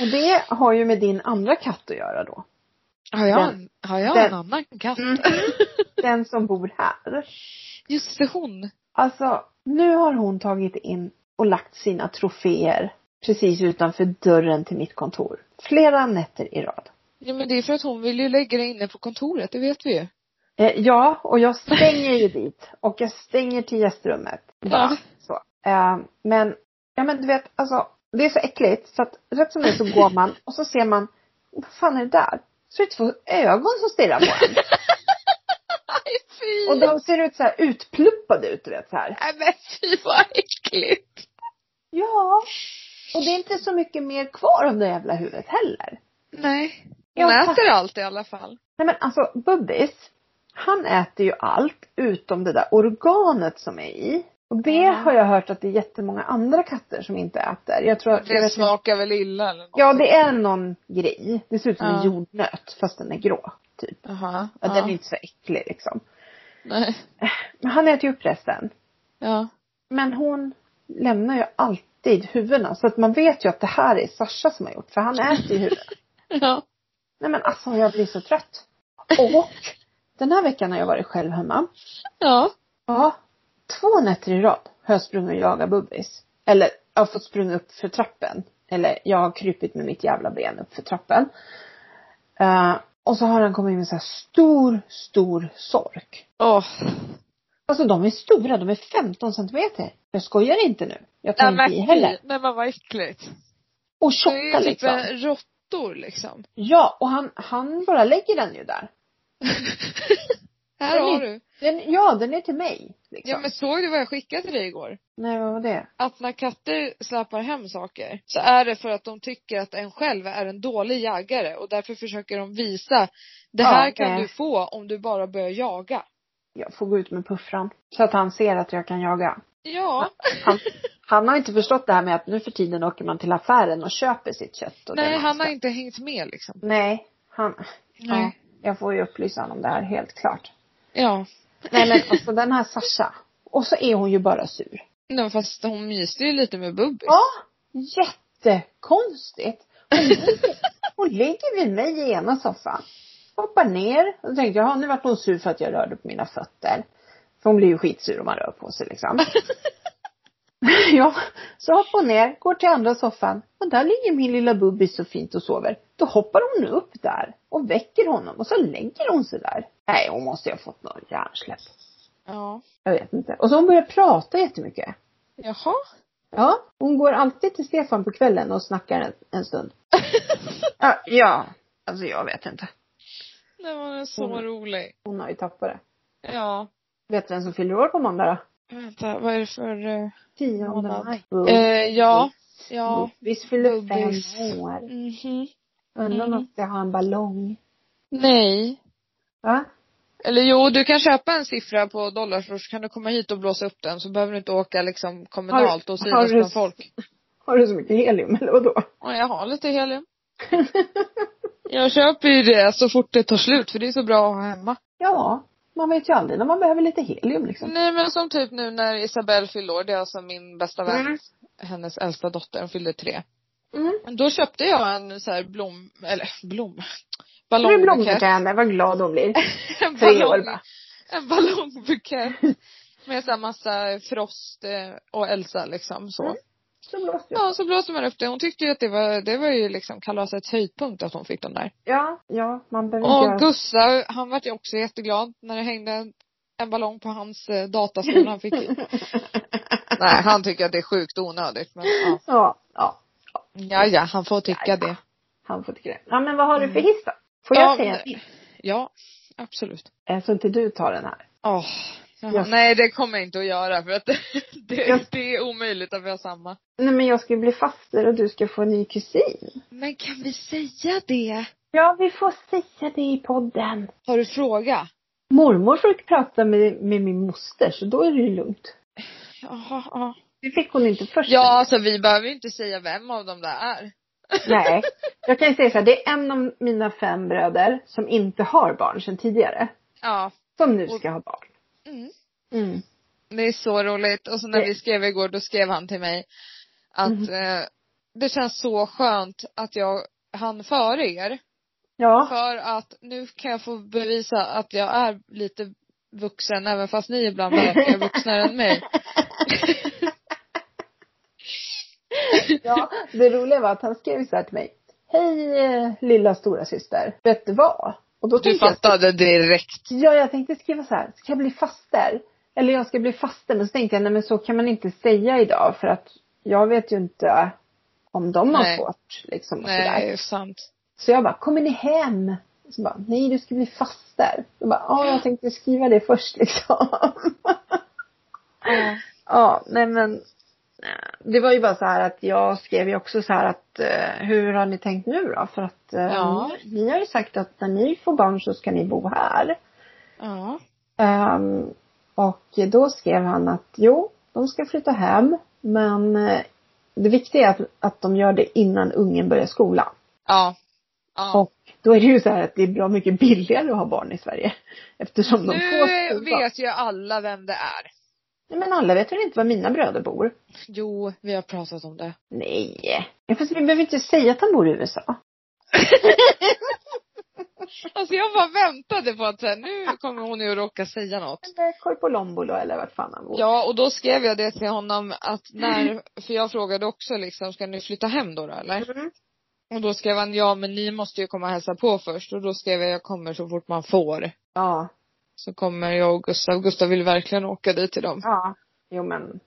Speaker 2: Och det har ju med din andra katt att göra då.
Speaker 1: Har jag,
Speaker 2: Den-
Speaker 1: en- har jag
Speaker 2: den-
Speaker 1: en annan katt?
Speaker 2: Mm. Den som bor här.
Speaker 1: Just det, hon.
Speaker 2: Alltså, nu har hon tagit in och lagt sina troféer precis utanför dörren till mitt kontor. Flera nätter i rad.
Speaker 1: Ja men det är för att hon vill ju lägga det inne på kontoret, det vet vi ju.
Speaker 2: Eh, ja, och jag stänger ju dit. Och jag stänger till gästrummet. Bara
Speaker 1: Ja.
Speaker 2: så. Eh, men, ja men du vet, alltså det är så äckligt så att rätt som det är så går man och så ser man, vad fan är det där? Så är det två ögon som stirrar på en.
Speaker 1: Nej fy!
Speaker 2: Och de ser ut så här utpluppade ut, du vet så här.
Speaker 1: Nej men fy vad äckligt.
Speaker 2: Ja. Och det är inte så mycket mer kvar av det jävla huvudet heller.
Speaker 1: Nej.
Speaker 2: Ja,
Speaker 1: Hon
Speaker 2: fast-
Speaker 1: äter allt i alla fall.
Speaker 2: Nej men alltså Bubbis, han äter ju allt utom det där organet som är i. Och det
Speaker 1: Mm.
Speaker 2: har jag hört att det är jättemånga andra katter som inte äter. Jag tror, jag
Speaker 1: Det
Speaker 2: vet inte.
Speaker 1: smakar väl illa eller något.
Speaker 2: Ja det är någon grej. Det ser ut som en
Speaker 1: Ja.
Speaker 2: jordnöt fast den är grå. Typ.
Speaker 1: Jaha.
Speaker 2: Ja. Den är inte så äcklig liksom.
Speaker 1: Nej.
Speaker 2: Men han äter ju upp resten.
Speaker 1: Ja.
Speaker 2: Men hon lämnar ju alltid huvudena. Så att man vet ju att det här är Sasha som har gjort. För han äter ju huvuden.
Speaker 1: Ja.
Speaker 2: Nej men alltså jag blir så trött. Och den här veckan har jag varit själv hemma.
Speaker 1: Ja.
Speaker 2: Ja. Två nätter i rad har jag sprungit och jagat bubbis. Eller jag har fått springa upp för trappen. Eller jag har krypit med mitt jävla ben upp för trappen. Eh, och så har han kommit med så här stor, stor sork.
Speaker 1: Åh.
Speaker 2: Alltså de är stora, de är 15 centimeter. Jag skojar inte nu. Jag tar
Speaker 1: Nej
Speaker 2: inte
Speaker 1: men
Speaker 2: i heller.
Speaker 1: fy. Nej men vad äckligt.
Speaker 2: Och
Speaker 1: Det är
Speaker 2: tjocka
Speaker 1: ju typ
Speaker 2: liksom.
Speaker 1: eh, råttor liksom.
Speaker 2: Ja, och han, han bara lägger den ju där.
Speaker 1: Här
Speaker 2: Den är-
Speaker 1: har du.
Speaker 2: Den, ja, den är till mig. Liksom.
Speaker 1: Ja men såg du vad jag skickade till dig igår?
Speaker 2: Nej, vad var det?
Speaker 1: Att när katter släpar hem saker så är det för att de tycker att en själv är en dålig jägare och därför försöker de visa det
Speaker 2: Ja,
Speaker 1: här kan
Speaker 2: nej.
Speaker 1: du få om du bara börjar jaga.
Speaker 2: Jag får gå ut med puffran. Så att han ser att jag kan jaga.
Speaker 1: Ja,
Speaker 2: Han har inte förstått det här med att nu för tiden åker man till affären och köper sitt kött. Och
Speaker 1: nej
Speaker 2: det
Speaker 1: han har inte hängt med liksom.
Speaker 2: Nej, han.
Speaker 1: Nej.
Speaker 2: Ja, jag får ju upplysa honom om det här helt klart.
Speaker 1: Ja.
Speaker 2: Nej men alltså den här Sasha. Och så är hon ju bara sur.
Speaker 1: Nej fast hon myste ju lite med Bubbis.
Speaker 2: Ja, jättekonstigt. Hon ligger, hon ligger vid mig i ena soffan. Hoppar ner och tänkte jag, "Jaha, nu vart hon sur för att jag rörde på mina fötter. För hon blir ju skitsur om man rör på sig liksom. ja, så hoppar hon ner, går till andra soffan och där ligger min lilla bubbis så fint och sover. Då hoppar hon upp där och väcker honom och så lägger hon sig där. Nej, hon måste ju ha fått någon hjärnsläpp.
Speaker 1: Ja.
Speaker 2: Jag vet inte. Och så hon börjar prata jättemycket.
Speaker 1: Jaha.
Speaker 2: Ja, hon går alltid till Stefan på kvällen och snackar en, en stund. ja, ja, alltså jag vet inte.
Speaker 1: Nej hon är så
Speaker 2: Mm.
Speaker 1: rolig.
Speaker 2: Hon har ju tappat det.
Speaker 1: Ja.
Speaker 2: Vet du vem som fyller år på måndag då?
Speaker 1: Vänta, vad är det för.. eh,
Speaker 2: 10
Speaker 1: Månad.
Speaker 2: maj.
Speaker 1: Eh, ja. Ja.
Speaker 2: Bubbis Mm. fyller
Speaker 1: Bubbis.
Speaker 2: fem år.
Speaker 1: Mhm.
Speaker 2: Undrar om
Speaker 1: Mm.
Speaker 2: jag ska ha en ballong.
Speaker 1: Nej.
Speaker 2: Va?
Speaker 1: Eller jo, du kan köpa en siffra på dollar så kan du komma hit och blåsa upp den så behöver du inte åka liksom kommunalt och
Speaker 2: har
Speaker 1: synas
Speaker 2: du-
Speaker 1: bland folk.
Speaker 2: Har du så mycket helium eller vadå?
Speaker 1: Och jag har lite helium. Jag köper ju det så fort det tar slut för det är så bra att ha hemma.
Speaker 2: ja, man vet ju aldrig när man behöver lite helium liksom.
Speaker 1: Nej men som typ nu när Isabelle fyllde år, det är alltså min bästa vän,
Speaker 2: Mm.
Speaker 1: hennes äldsta dotter, hon fyllde tre.
Speaker 2: Mm.
Speaker 1: Då köpte jag en så här blom, eller blom,
Speaker 2: Nu är det blommor
Speaker 1: ballongbukett.
Speaker 2: till henne, vad glad hon blir.
Speaker 1: En
Speaker 2: Tre år
Speaker 1: ballong,
Speaker 2: bara.
Speaker 1: en ballongbukett. Med så här massa Frost eh, och Elsa liksom så.
Speaker 2: Mm. Så blåste jag.
Speaker 1: Ja, så blåste man upp det. Hon tyckte ju att det var, det var ju liksom kalasets höjdpunkt att hon fick den där.
Speaker 2: Ja, ja, man behöver inte göra
Speaker 1: Och Gustav, han vart ju också jätteglad när det hängde en, en ballong på hans eh, dataskärm han fick i. Nej, han tycker att det är sjukt onödigt men ja.
Speaker 2: Ja, ja.
Speaker 1: Ja, ja, han får tycka
Speaker 2: Ja, ja.
Speaker 1: det.
Speaker 2: Han får Mm. tycka det. Ja men vad har du för hiss då? Får jag
Speaker 1: Ja,
Speaker 2: säga
Speaker 1: men-
Speaker 2: en hiss?
Speaker 1: Ja, absolut.
Speaker 2: Eh, Så inte du tar den här.
Speaker 1: Åh. jaha.
Speaker 2: Ja.
Speaker 1: Nej, det kommer jag inte att göra för att det,
Speaker 2: Ja.
Speaker 1: det, det är omöjligt att vi har samma.
Speaker 2: Nej men jag ska ju bli faster och du ska få en ny kusin.
Speaker 1: Men kan vi säga det?
Speaker 2: Ja vi får säga det i podden.
Speaker 1: Har du fråga?
Speaker 2: Mormor fick prata med, med min moster så då är det ju lugnt.
Speaker 1: Jaha, ja.
Speaker 2: Det fick hon inte först.
Speaker 1: Ja, alltså vi behöver ju inte säga vem av dem det är.
Speaker 2: Nej. Jag kan ju säga så här, det är en av mina fem bröder som inte har barn sedan tidigare.
Speaker 1: Ja.
Speaker 2: Som nu ska ha barn.
Speaker 1: Mm.
Speaker 2: Mm.
Speaker 1: Det är så roligt. Och så när
Speaker 2: Det-
Speaker 1: vi skrev igår, då skrev han till mig att
Speaker 2: Mhm.
Speaker 1: eh, det känns så skönt att jag hann före er.
Speaker 2: Ja.
Speaker 1: För att nu kan jag få bevisa att jag är lite vuxen även fast ni ibland verkar vuxnare än mig.
Speaker 2: ja. Det roliga var att han skrev så här till mig. Hej eh, lilla stora syster. Vet du vad? Och då
Speaker 1: Du
Speaker 2: tänkte jag
Speaker 1: fattade direkt.
Speaker 2: Ja, jag tänkte skriva så här. Ska jag bli faster? eller jag ska bli faster. Men så tänkte jag, nej men så kan man inte säga idag för att jag vet ju inte om de har
Speaker 1: Nej.
Speaker 2: fått liksom och
Speaker 1: Nej, det
Speaker 2: sådär.
Speaker 1: är sant.
Speaker 2: Så jag bara, kommer ni hem? Så bara, nej du ska bli faster. Jag bara, ja jag tänkte skriva det först liksom.
Speaker 1: Ja.
Speaker 2: Ja, nej men. eh, Det var ju bara så här att jag skrev ju också så här att eh, hur har ni tänkt nu då? För att eh,
Speaker 1: Ja.
Speaker 2: ni, ni har ju sagt att när ni får barn så ska ni bo här.
Speaker 1: ja.
Speaker 2: Ehm, och då skrev han att jo, de ska flytta hem men eh, det viktiga är att, att de gör det innan ungen börjar skolan.
Speaker 1: Ja. ja.
Speaker 2: Och då är det ju så här att det är bra mycket billigare att ha barn i Sverige. Eftersom de får
Speaker 1: Nu
Speaker 2: skolan.
Speaker 1: vet ju alla vem det är.
Speaker 2: Nej, men alla vet väl inte var mina bröder bor?
Speaker 1: Jo, vi har pratat om det.
Speaker 2: Nej. Ja, Fast vi behöver inte säga att han bor i USA.
Speaker 1: Alltså jag bara väntade på att så här, nu kommer hon ju att råka säga något.
Speaker 2: Eller Korpilombolo eller vart fan han bor.
Speaker 1: Ja, och då skrev jag det till honom att när, för jag frågade också liksom, ska ni flytta hem då, då eller?
Speaker 2: Mm.
Speaker 1: Och då skrev han, ja men ni måste ju komma och hälsa på först. Och då skrev jag, jag kommer så fort man får.
Speaker 2: Ja.
Speaker 1: Så kommer jag och Gustav. Gustav vill verkligen åka dit till dem.
Speaker 2: Ja. Jo men.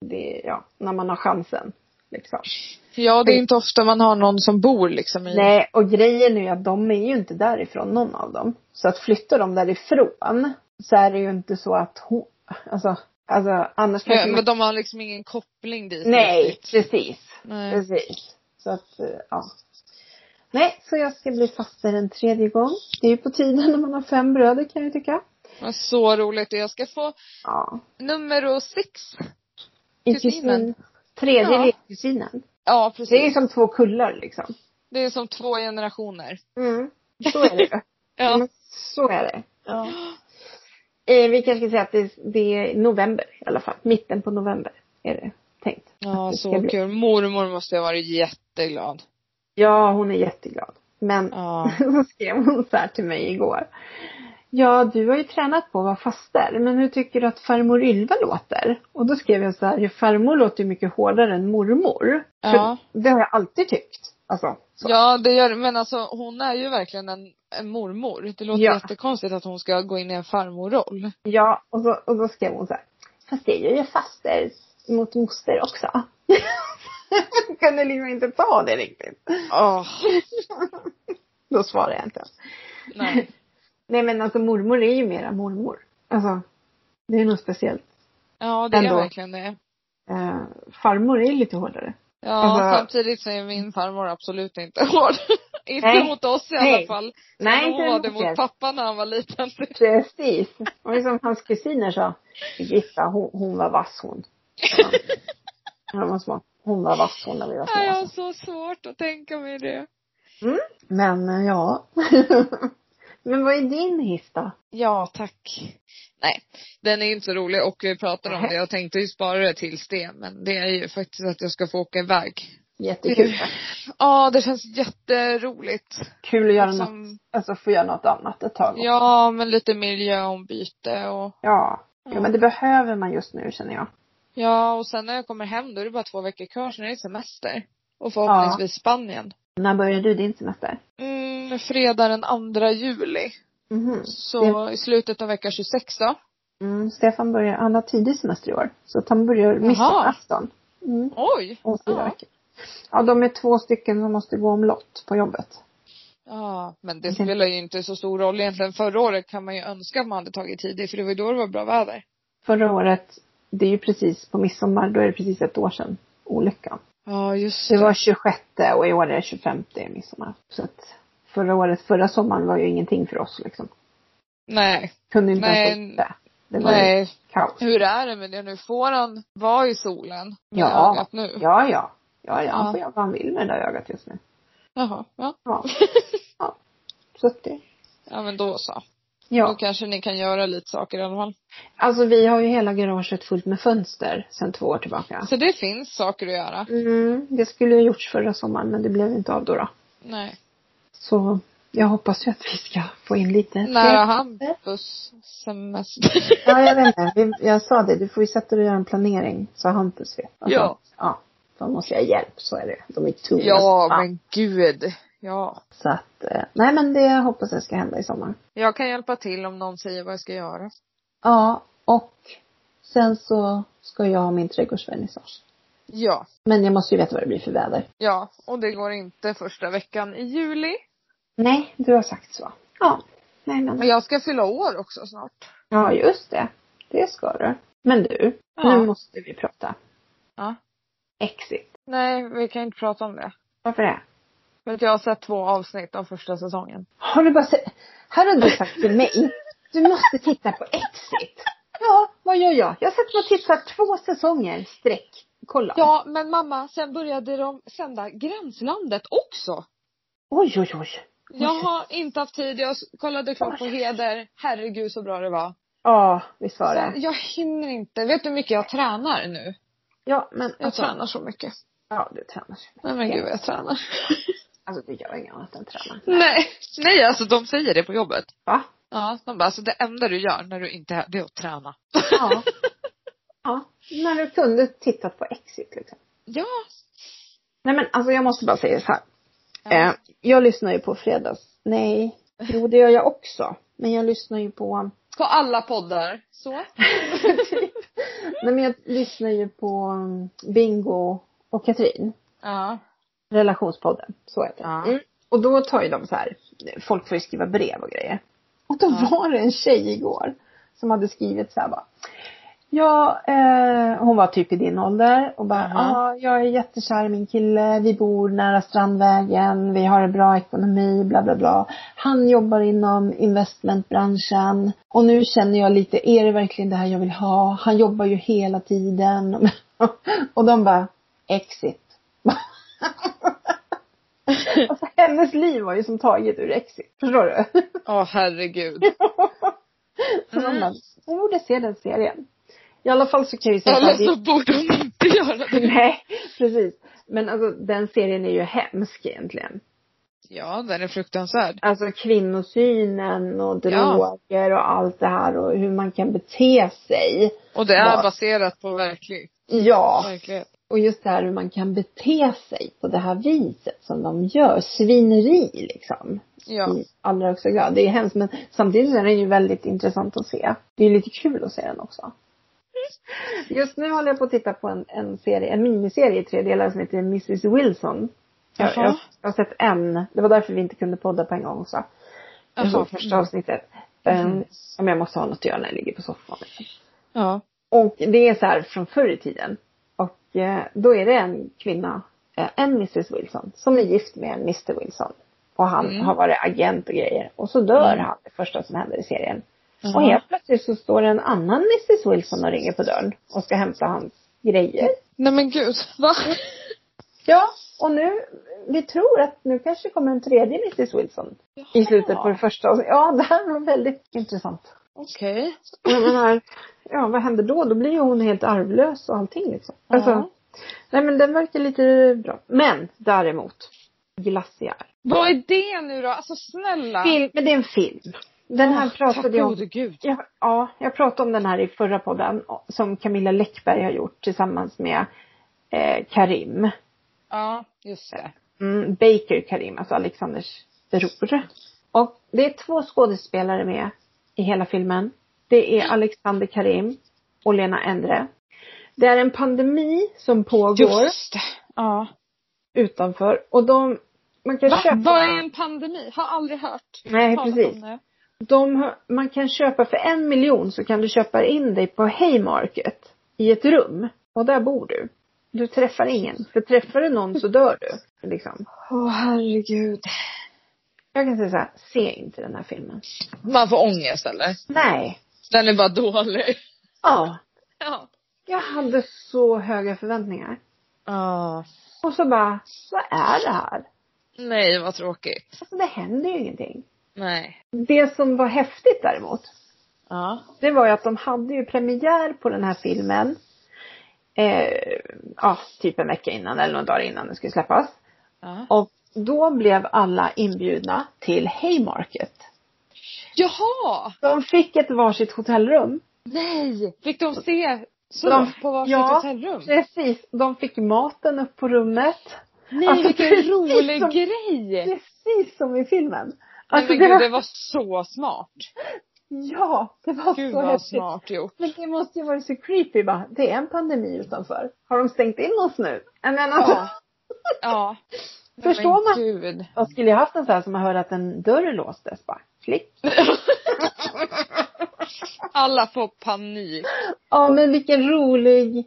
Speaker 2: Det, ja. När man har chansen. Liksom.
Speaker 1: Ja, det är inte ofta man har någon som bor liksom i.
Speaker 2: Nej, och grejen är ju att de är ju inte därifrån, någon av dem. Så att flytta dem därifrån så är det ju inte så att hon, alltså, alltså annars
Speaker 1: Ja,
Speaker 2: kanske man...
Speaker 1: men de har liksom ingen koppling dit.
Speaker 2: Nej, Mm.
Speaker 1: riktigt.
Speaker 2: precis.
Speaker 1: Nej.
Speaker 2: Precis. Så att, eh, ja. Nej, så jag ska bli faster en tredje gång. Det är ju på tiden när man har fem bröder kan jag tycka.
Speaker 1: Men så roligt. Jag ska få
Speaker 2: Ja.
Speaker 1: nummer sex.
Speaker 2: I
Speaker 1: Kusinen.
Speaker 2: kusin. Tredje
Speaker 1: Ja.
Speaker 2: ja. kusinen.
Speaker 1: Ja,
Speaker 2: Det är ju
Speaker 1: precis.
Speaker 2: som två kullar liksom.
Speaker 1: Det är som två generationer.
Speaker 2: Mm. Så är det ju.
Speaker 1: Ja.
Speaker 2: Men Mm. så är det. Ja. Eh, vi kanske ska säga att det, det är november i alla fall. Mitten på november är det tänkt.
Speaker 1: Ja,
Speaker 2: Det ska
Speaker 1: så
Speaker 2: bli-
Speaker 1: kul. Mormor måste ha varit jätteglad.
Speaker 2: Ja, hon är jätteglad. Men
Speaker 1: Ja.
Speaker 2: så skrev hon så här till mig igår. Ja, du har ju tränat på att vara faster, men hur tycker du att farmor Ylva låter? Och då skrev jag så här, "Ja, farmor låter ju mycket hårdare än mormor.
Speaker 1: Ja.
Speaker 2: För det har jag alltid tyckt. Alltså, så.
Speaker 1: Ja, det gör det. Men alltså hon är ju verkligen en, en mormor. Det låter
Speaker 2: Ja.
Speaker 1: jättekonstigt att hon ska gå in i en farmorroll.
Speaker 2: Ja, och, så, och då skrev hon så här. Fast det gör ju faster mot moster också. Jag kunde liksom inte ta det riktigt.
Speaker 1: Ja.
Speaker 2: Då svarade jag inte.
Speaker 1: nej.
Speaker 2: Nej men alltså mormor är ju mera mormor. Alltså, det är nog speciellt.
Speaker 1: Ja, det är
Speaker 2: Ändå.
Speaker 1: verkligen det.
Speaker 2: Eh, farmor är lite hårdare.
Speaker 1: Ja,
Speaker 2: Alltså-
Speaker 1: samtidigt så är min farmor absolut inte hård. inte
Speaker 2: Nej.
Speaker 1: mot oss i alla
Speaker 2: Nej.
Speaker 1: fall.
Speaker 2: Nej,
Speaker 1: Men
Speaker 2: inte
Speaker 1: hon var det
Speaker 2: mot er.
Speaker 1: mot pappa när han var liten.
Speaker 2: Precis. Och liksom hans kusiner sa, Birgitta hon, hon var vass hon. När de var små. Hon var vass hon när vi var små.
Speaker 1: Ja, jag har
Speaker 2: Alltså.
Speaker 1: så svårt att tänka mig det.
Speaker 2: Men eh, ja. men vad är din hiss då?
Speaker 1: Ja, tack. Nej, den är inte så rolig och vi pratade om
Speaker 2: Nej.
Speaker 1: det. Jag tänkte ju spara det tills det, men det är ju faktiskt att jag ska få åka iväg.
Speaker 2: Jättekul.
Speaker 1: Ja, det känns jätteroligt.
Speaker 2: Kul att göra något,
Speaker 1: Liksom,
Speaker 2: alltså få göra något annat ett tag.
Speaker 1: ja, men lite miljöombyte och
Speaker 2: Ja. ja. men det
Speaker 1: Mm.
Speaker 2: behöver man just nu känner jag.
Speaker 1: ja, och sen när jag kommer hem då är det bara två veckor kvar, sen är det semester. Och förhoppningsvis Spanien.
Speaker 2: När börjar du din semester?
Speaker 1: Mm, fredag den 2 juli.
Speaker 2: Mhm.
Speaker 1: Så i slutet av vecka 26 då.
Speaker 2: Mm, Stefan börjar, han har tidig semester i år. Så att han börjar midsommarafton. Mm.
Speaker 1: Oj!
Speaker 2: Om fyra
Speaker 1: Ja.
Speaker 2: veckor. Ja, de är två stycken som måste gå omlott på jobbet.
Speaker 1: Ja, men det
Speaker 2: Okej.
Speaker 1: spelar ju inte så stor roll egentligen. Förra året kan man ju önska att man hade tagit tidigt, för det var ju då det var bra väder.
Speaker 2: Förra året, det är ju precis på midsommar, då är det precis ett år sedan olyckan.
Speaker 1: Ja, just
Speaker 2: Det var 26 och i år är det 25 i midsommar. Så att förra året, förra sommaren var ju ingenting för oss liksom.
Speaker 1: Nej.
Speaker 2: Kunde inte
Speaker 1: Nej.
Speaker 2: ens det. Det var ju
Speaker 1: Nej.
Speaker 2: kaos.
Speaker 1: Hur är det med det nu? Får han vara i solen med
Speaker 2: Ja.
Speaker 1: ögat nu?
Speaker 2: Ja, ja. Ja, ja.
Speaker 1: Ja.
Speaker 2: Han får göra vad han vill med det där ögat just nu.
Speaker 1: Jaha, ja.
Speaker 2: Ja. ja. Så att det.
Speaker 1: Ja men då så. Då
Speaker 2: Ja.
Speaker 1: kanske ni kan göra lite saker i alla fall.
Speaker 2: Alltså vi har ju hela garaget fullt med fönster sedan två år tillbaka.
Speaker 1: Så det finns saker att göra.
Speaker 2: Mm, det skulle ha gjorts förra sommaren men det blev inte av då. då.
Speaker 1: Nej.
Speaker 2: Så jag hoppas ju att vi ska få in lite
Speaker 1: När har
Speaker 2: fler.
Speaker 1: Hampus semester?
Speaker 2: Ja, jag vet inte. Vi- Jag sa det, du får ju sätta dig och göra en planering så Hampus vet. Alltså,
Speaker 1: Ja.
Speaker 2: Ja. De måste ha hjälp, så är det. De är tunga.
Speaker 1: ja
Speaker 2: som fan.
Speaker 1: men gud. Ja.
Speaker 2: Så att, eh, nej men det hoppas jag ska hända i sommar.
Speaker 1: Jag kan hjälpa till om någon säger vad jag ska göra.
Speaker 2: Ja, och Sen så ska jag ha min trädgårdsvernissage.
Speaker 1: Ja.
Speaker 2: Men jag måste ju veta vad det blir för väder.
Speaker 1: Ja, och det går inte första veckan i juli.
Speaker 2: Nej, du har sagt så. Ja. Nej men.
Speaker 1: Men jag ska fylla år också snart.
Speaker 2: Ja, just det. Det ska du. Men du,
Speaker 1: Ja.
Speaker 2: nu måste vi prata.
Speaker 1: Ja.
Speaker 2: Exit.
Speaker 1: Nej, vi kan inte prata om det.
Speaker 2: Varför det?
Speaker 1: För att jag har sett två avsnitt av första säsongen.
Speaker 2: Har du bara sett? Här har du sagt till mig. Du måste titta på Exit. Ja, vad gör jag? Jag sätter mig och tittar två säsonger streck. Kolla.
Speaker 1: Ja, men mamma, sen började de sända Gränslandet också.
Speaker 2: Oj, oj, oj.
Speaker 1: Jag har inte haft tid. Jag kollade klart på Heder. Herregud så bra det var.
Speaker 2: Ja, visst var det.
Speaker 1: Sen, jag hinner inte. Vet du hur mycket jag tränar nu?
Speaker 2: Ja,
Speaker 1: Alltså.
Speaker 2: men alltså-
Speaker 1: Jag tränar så mycket.
Speaker 2: Ja, du tränar.
Speaker 1: Nej men gud vad jag tränar.
Speaker 2: Alltså du gör inget annat än träna.
Speaker 1: Nej. Nej alltså de säger det på jobbet.
Speaker 2: Va?
Speaker 1: Ja, de bara alltså det enda du gör när du inte, det är att träna.
Speaker 2: Ja. ja. När du kunde tittat på Exit liksom.
Speaker 1: Ja.
Speaker 2: Nej men alltså jag måste bara säga så här.
Speaker 1: Ja.
Speaker 2: Eh, jag lyssnar ju på fredags. Nej. Jo det gör jag också. Men jag lyssnar ju på
Speaker 1: På alla poddar. Så.
Speaker 2: Nej men jag lyssnar ju på um, Bingo och Katrin.
Speaker 1: Ja.
Speaker 2: Relationspodden. Så heter den.
Speaker 1: Ja.
Speaker 2: Mm. Och då tar ju de så här. Folk får ju skriva brev och grejer. Och då
Speaker 1: Ja.
Speaker 2: var det en tjej igår. Som hade skrivit så här bara. Ja, eh, hon var typ i din ålder och bara, ja,
Speaker 1: Aha.
Speaker 2: jag är jättekär i min kille, vi bor nära Strandvägen, vi har en bra ekonomi, bla bla bla. Han jobbar inom investmentbranschen och nu känner jag lite, är det verkligen det här jag vill ha? Han jobbar ju hela tiden. Och de bara, exit. alltså, hennes liv var ju som taget ur exit, förstår du?
Speaker 1: Åh herregud.
Speaker 2: Så man
Speaker 1: Mm.
Speaker 2: bara, hon borde se den serien. I alla fall så kan jag ju säga
Speaker 1: Eller
Speaker 2: att det-
Speaker 1: så borde de inte göra det.
Speaker 2: Nej, precis. Men alltså den serien är ju hemsk egentligen.
Speaker 1: Ja, den är fruktansvärd.
Speaker 2: Alltså kvinnosynen och
Speaker 1: Ja.
Speaker 2: droger och allt det här och hur man kan bete sig.
Speaker 1: Och det är
Speaker 2: Ja.
Speaker 1: baserat på verklig,
Speaker 2: Ja,
Speaker 1: verklighet.
Speaker 2: och just det här hur man kan bete sig på det här viset som de gör. Svineri liksom.
Speaker 1: Ja.
Speaker 2: I allra högsta grad. Det är hemskt men samtidigt så är den ju väldigt intressant att se. Det är ju lite kul att se den också. Just nu håller jag på att titta på en, en serie, en miniserie i tre delar som heter Mrs Wilson. Jag,
Speaker 1: Jaha.
Speaker 2: jag, jag har sett en. Det var därför vi inte kunde podda på en gång också. Jag
Speaker 1: Jaha.
Speaker 2: såg första avsnittet. Mm.
Speaker 1: Mhm.
Speaker 2: men jag måste ha något att göra när jag ligger på soffan.
Speaker 1: Ja.
Speaker 2: Och det är så här från förr i tiden. Och eh, då är det en kvinna, eh, en Mrs Wilson, som är gift med en Mr Wilson. Och han
Speaker 1: Mm.
Speaker 2: har varit agent och grejer. Och så dör
Speaker 1: Mm.
Speaker 2: han, det första som händer i serien. Och
Speaker 1: Jaha.
Speaker 2: helt plötsligt så står det en annan Mrs Wilson och ringer på dörren och ska hämta hans grejer.
Speaker 1: Nej men gud. Va?
Speaker 2: Ja, och nu, vi tror att nu kanske kommer en tredje Mrs Wilson. I slutet på det första avsnittet. Ja, det här var väldigt intressant.
Speaker 1: Okej.
Speaker 2: Och Jag menar, ja vad händer då? Då blir ju hon helt arvlös och allting liksom. Alltså,
Speaker 1: Ja.
Speaker 2: nej men den verkar lite bra. Men däremot, Glaciär.
Speaker 1: Vad är det nu då? Alltså snälla.
Speaker 2: Film, men det är en film. Den här
Speaker 1: Åh,
Speaker 2: pratade jag om.
Speaker 1: Tack gode gud.
Speaker 2: Ja, ja, jag pratade om den här i förra podden som Camilla Läckberg har gjort tillsammans med eh, Karim.
Speaker 1: Ja, just det.
Speaker 2: Mm, Baker Karim, alltså Alexanders bror. Och det är två skådespelare med i hela filmen. Det är Alexander Karim och Lena Endre. Det är en pandemi som pågår
Speaker 1: Just det. Ja.
Speaker 2: utanför och de, man kan
Speaker 1: Va?
Speaker 2: köpa,
Speaker 1: Vad är en pandemi? Har aldrig hört.
Speaker 2: nej
Speaker 1: talas
Speaker 2: precis.
Speaker 1: om det.
Speaker 2: De, har- man kan köpa för en miljon så kan du köpa in dig på Haymarket i ett rum och där bor du. Du träffar ingen, för träffar du någon så dör du. Liksom.
Speaker 1: Åh herregud.
Speaker 2: Jag kan säga så här, se inte den här filmen.
Speaker 1: Man får ångest eller?
Speaker 2: Nej.
Speaker 1: Den är bara dålig.
Speaker 2: Ja,
Speaker 1: Ja.
Speaker 2: Jag hade så höga förväntningar.
Speaker 1: Ja.
Speaker 2: Och så bara, vad är det här?
Speaker 1: Nej vad tråkigt.
Speaker 2: Alltså det händer ju ingenting.
Speaker 1: Nej.
Speaker 2: Det som var häftigt däremot,
Speaker 1: Ja.
Speaker 2: det var ju att de hade ju premiär på den här filmen. Eh, ja, typ en vecka innan eller några dagar innan den skulle släppas.
Speaker 1: ja.
Speaker 2: Och då blev alla inbjudna till Haymarket.
Speaker 1: Jaha!
Speaker 2: De fick ett varsitt hotellrum.
Speaker 1: Nej! Fick de se så
Speaker 2: De-
Speaker 1: på varsitt
Speaker 2: ja.
Speaker 1: hotellrum?
Speaker 2: Precis, de fick maten upp på rummet.
Speaker 1: Nej
Speaker 2: Alltså, precis
Speaker 1: vilken rolig
Speaker 2: som-
Speaker 1: grej!
Speaker 2: Precis som i filmen. Alltså,
Speaker 1: Nej men
Speaker 2: det
Speaker 1: gud
Speaker 2: var-
Speaker 1: det var så smart.
Speaker 2: Ja, det var
Speaker 1: Gud
Speaker 2: så
Speaker 1: vad
Speaker 2: häftigt.
Speaker 1: smart gjort.
Speaker 2: Men det måste ju varit så creepy bara. Det är en pandemi utanför. Har de stängt in oss nu? Nej, Men alltså,
Speaker 1: Ja. Ja.
Speaker 2: Förstår
Speaker 1: Men
Speaker 2: man?
Speaker 1: Gud.
Speaker 2: jag skulle ju haft en sån här som man hörde att en dörr låstes bara. Klick.
Speaker 1: Alla får panik.
Speaker 2: Ja men vilken rolig.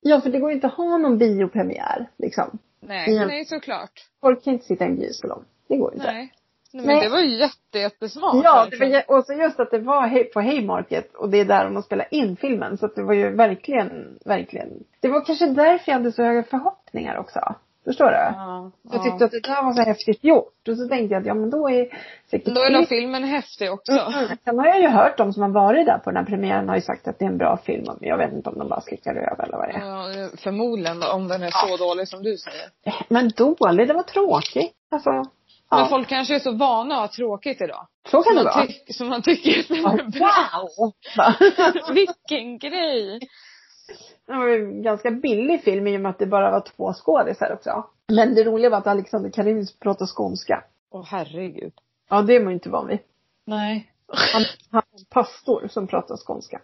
Speaker 2: Ja för det går ju inte att ha någon biopremiär liksom.
Speaker 1: Nej,
Speaker 2: Ja.
Speaker 1: nej såklart.
Speaker 2: Folk kan inte sitta i en biosalong. Det går ju inte.
Speaker 1: Nej. nej men
Speaker 2: Nej.
Speaker 1: det var ju jätte, jättesmart.
Speaker 2: Ja, det
Speaker 1: verkligen.
Speaker 2: var, ju- och så just att det var hej- på Haymarket och det är där de spelar in filmen. Så att det var ju verkligen, verkligen. Det var kanske därför jag hade så höga förhoppningar också. Förstår du?
Speaker 1: Ja,
Speaker 2: Jag
Speaker 1: ja.
Speaker 2: tyckte att det där var så häftigt gjort. Och så tänkte jag att ja men då är säkert
Speaker 1: Men Då är nog filmen häftig också.
Speaker 2: Mm. Sen har jag ju hört de som har varit där på den här premiären har ju sagt att det är en bra film. Men jag vet inte om de bara slickar över eller vad det är.
Speaker 1: Ja, förmodligen då, om den är så dålig som du säger.
Speaker 2: Eh, Men dålig, det var tråkig. Alltså,
Speaker 1: Men
Speaker 2: ja.
Speaker 1: folk kanske är så vana att ha tråkigt idag.
Speaker 2: Så kan det
Speaker 1: Som
Speaker 2: vara.
Speaker 1: man, tyck, som man tycker att den
Speaker 2: Ja,
Speaker 1: är bra.
Speaker 2: Wow! Ja.
Speaker 1: Vilken grej!
Speaker 2: Det var ju en ganska billig film i och med att det bara var två skådisar också. Men det roliga var att Alexander Karin pratade skånska.
Speaker 1: Åh herregud.
Speaker 2: Ja, det är man ju inte van vid.
Speaker 1: Nej.
Speaker 2: Han, han är en pastor som pratar skånska.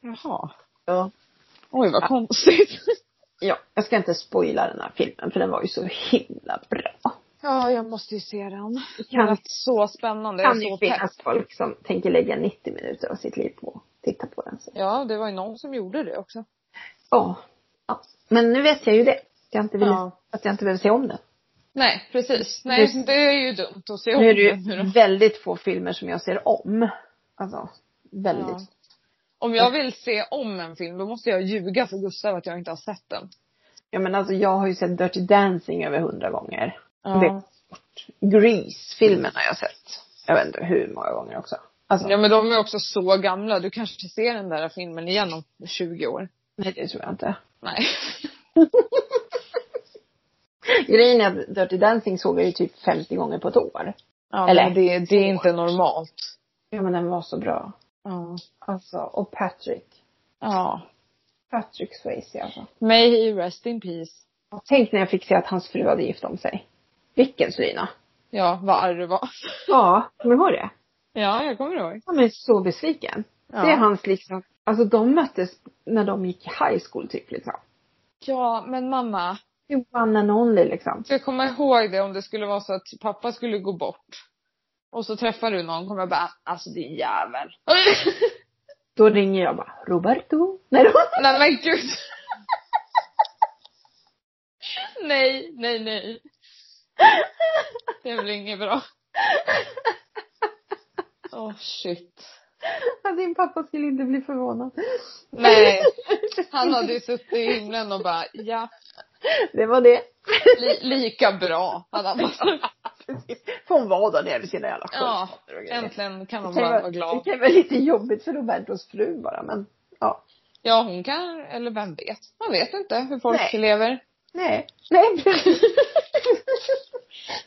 Speaker 1: Jaha.
Speaker 2: Ja.
Speaker 1: Oj vad konstigt.
Speaker 2: Ja, jag ska inte spoila den här filmen för den var ju så himla bra.
Speaker 1: Ja, jag måste ju se den.
Speaker 2: Det
Speaker 1: Det
Speaker 2: kan,
Speaker 1: lät så spännande. Jag
Speaker 2: kan
Speaker 1: är
Speaker 2: ju
Speaker 1: så pepp.
Speaker 2: finnas folk som tänker lägga 90 minuter av sitt liv på att titta på den. Så.
Speaker 1: Ja, det var ju någon som gjorde det också.
Speaker 2: Ja. ja. Men nu vet jag ju det. Jag inte vill,
Speaker 1: Ja.
Speaker 2: Att jag inte behöver se om den.
Speaker 1: Nej, precis. Nej, det är ju dumt att se om
Speaker 2: Nu är det
Speaker 1: den nu
Speaker 2: ju
Speaker 1: då.
Speaker 2: väldigt få filmer som jag ser om. Alltså, väldigt.
Speaker 1: Ja. Om jag vill se om en film, då måste jag ljuga för Gustav att jag inte har sett den.
Speaker 2: Ja men alltså jag har ju sett Dirty Dancing över hundra gånger.
Speaker 1: Ja.
Speaker 2: Det- Grease-filmen har jag sett. Jag vet inte hur många gånger också. Alltså,
Speaker 1: Ja men de är också så gamla. Du kanske ser den där filmen igen om 20 år.
Speaker 2: nej det tror jag inte.
Speaker 1: Nej.
Speaker 2: Grejen är att Dirty Dancing såg jag ju typ 50 gånger på ett år.
Speaker 1: Ja,
Speaker 2: Eller-
Speaker 1: men det, det är inte normalt.
Speaker 2: Ja men den var så bra.
Speaker 1: Ja.
Speaker 2: Alltså, och Patrick.
Speaker 1: Ja.
Speaker 2: Patrick Swayze alltså.
Speaker 1: May he rest in peace.
Speaker 2: Tänk när jag fick se att hans fru hade gift om sig. Vilken slyna.
Speaker 1: Ja, vad arg du var.
Speaker 2: Ja, kommer du ihåg det?
Speaker 1: Ja, jag kommer ihåg.
Speaker 2: Han är så besviken.
Speaker 1: Ja.
Speaker 2: Det är hans liksom, alltså de möttes när de gick i high school typ liksom.
Speaker 1: Ja, men mamma.
Speaker 2: Det är one and only liksom.
Speaker 1: Du ska komma ihåg det om det skulle vara så att pappa skulle gå bort. Och så träffar du någon kommer jag bara, alltså din jävel.
Speaker 2: Då ringer jag bara, Roberto. Nej då.
Speaker 1: nej men gud. nej, nej, nej. Det blir inget bra. Åh shit.
Speaker 2: Ja, Alltså, Din pappa skulle inte bli förvånad.
Speaker 1: Nej. Han hade ju suttit i himlen och bara, ja,
Speaker 2: Det var det.
Speaker 1: li- lika bra. Hade han bara,
Speaker 2: Får hon vara där nere vid sina jävla
Speaker 1: ja,
Speaker 2: sköldpaddor och grejer.
Speaker 1: äntligen kan
Speaker 2: Det
Speaker 1: man
Speaker 2: kan ju
Speaker 1: bara
Speaker 2: vara-
Speaker 1: vara glad.
Speaker 2: det kan ju vara lite jobbigt för Robertos fru bara men ja.
Speaker 1: Ja, hon kan, eller vem vet. Man vet inte hur folk
Speaker 2: Nej.
Speaker 1: lever.
Speaker 2: Nej. Nej precis.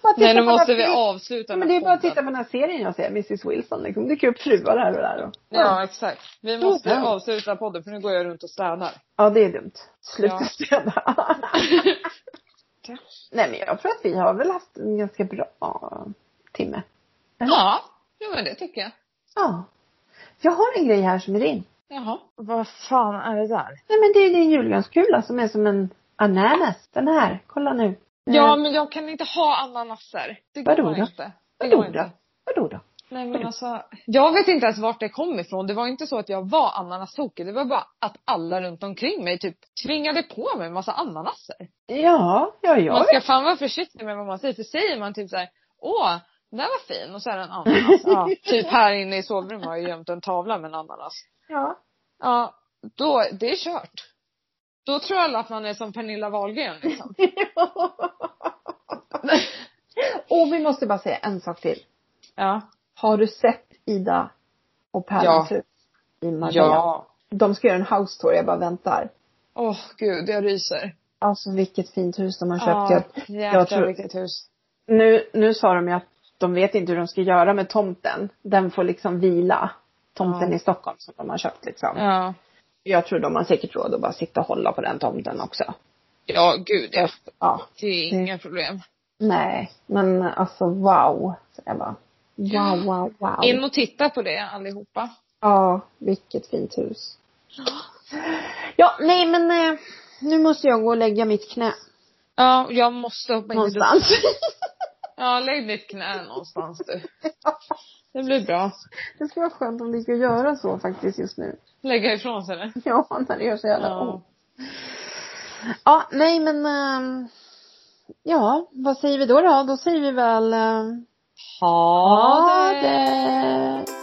Speaker 2: Bara titta på
Speaker 1: Nej, nu
Speaker 2: den här
Speaker 1: måste vi
Speaker 2: serien.
Speaker 1: avsluta
Speaker 2: Men
Speaker 1: den
Speaker 2: det
Speaker 1: här
Speaker 2: är bara att
Speaker 1: podden.
Speaker 2: titta på den här serien jag ser, Mrs Wilson liksom. Det dyker upp fruar här och där och.
Speaker 1: Ja, exakt. Vi måste
Speaker 2: Ja.
Speaker 1: avsluta podden för nu går jag runt och städar.
Speaker 2: Ja det är dumt. Sluta
Speaker 1: Ja.
Speaker 2: städa. Nej men jag tror att vi har väl haft en ganska bra timme.
Speaker 1: Ja, jo men det tycker jag.
Speaker 2: Ja. Jag har en grej här som är din.
Speaker 1: Jaha. Vad fan är det där?
Speaker 2: Nej men det är din julgrankula som är som en ananas. Den här, kolla nu.
Speaker 1: Ja, men jag kan inte ha ananaser. Det går
Speaker 2: Vadå då?
Speaker 1: inte. Det
Speaker 2: Eh, Vadå
Speaker 1: går
Speaker 2: då?
Speaker 1: inte.
Speaker 2: Vadå då?
Speaker 1: Nej men alltså, jag vet inte ens vart det kom ifrån. Det var inte så att jag var ananastokig. Det var bara att alla runt omkring mig typ tvingade på mig en massa ananaser.
Speaker 2: Ja, ja jag
Speaker 1: Man
Speaker 2: vet.
Speaker 1: ska fan vara försiktig med vad man säger. För säger man typ så här, åh, den där var fin och så är det en ananas. ja, typ här inne i sovrummet har jag gömt en tavla med en ananas.
Speaker 2: Ja.
Speaker 1: Ja, då, det är kört. Då tror alla att man är som Pernilla Wahlgren liksom.
Speaker 2: och vi måste bara säga en sak till.
Speaker 1: Ja.
Speaker 2: Har du sett Ida och Pärlans
Speaker 1: Ja.
Speaker 2: hus? I Marbella.
Speaker 1: Ja.
Speaker 2: De ska göra en house tour, jag bara väntar.
Speaker 1: Åh gud, jag ryser.
Speaker 2: Alltså vilket fint hus de har
Speaker 1: Ja,
Speaker 2: köpt. Jag,
Speaker 1: jäklar
Speaker 2: tror-
Speaker 1: vilket hus.
Speaker 2: nu, nu sa de ju att de vet inte hur de ska göra med tomten. Den får liksom vila. Tomten
Speaker 1: Ja.
Speaker 2: i Stockholm som de har köpt liksom.
Speaker 1: Ja.
Speaker 2: Jag tror de har säkert råd att bara sitta och hålla på den tomten också.
Speaker 1: Ja, gud ja.
Speaker 2: Ja.
Speaker 1: Det är inga problem.
Speaker 2: Nej, men alltså wow. Så jag bara, Wow, wow, wow.
Speaker 1: In och titta på det allihopa.
Speaker 2: Ja, vilket fint hus. Ja, nej men eh, nu måste jag gå och lägga mitt knä
Speaker 1: Ja, och jag måste hoppa in i duschen.
Speaker 2: någonstans.
Speaker 1: Ja, lägg ditt knä någonstans du. Det blir bra.
Speaker 2: Det skulle vara skönt om det gick att göra så faktiskt just nu.
Speaker 1: Lägga ifrån sig det.
Speaker 2: Ja, när det gör så jävla
Speaker 1: Ja.
Speaker 2: ont. Ja, nej men ehm, Ja, eh, vad säger vi då då? Då säger vi väl ehm,
Speaker 1: Ha
Speaker 2: det!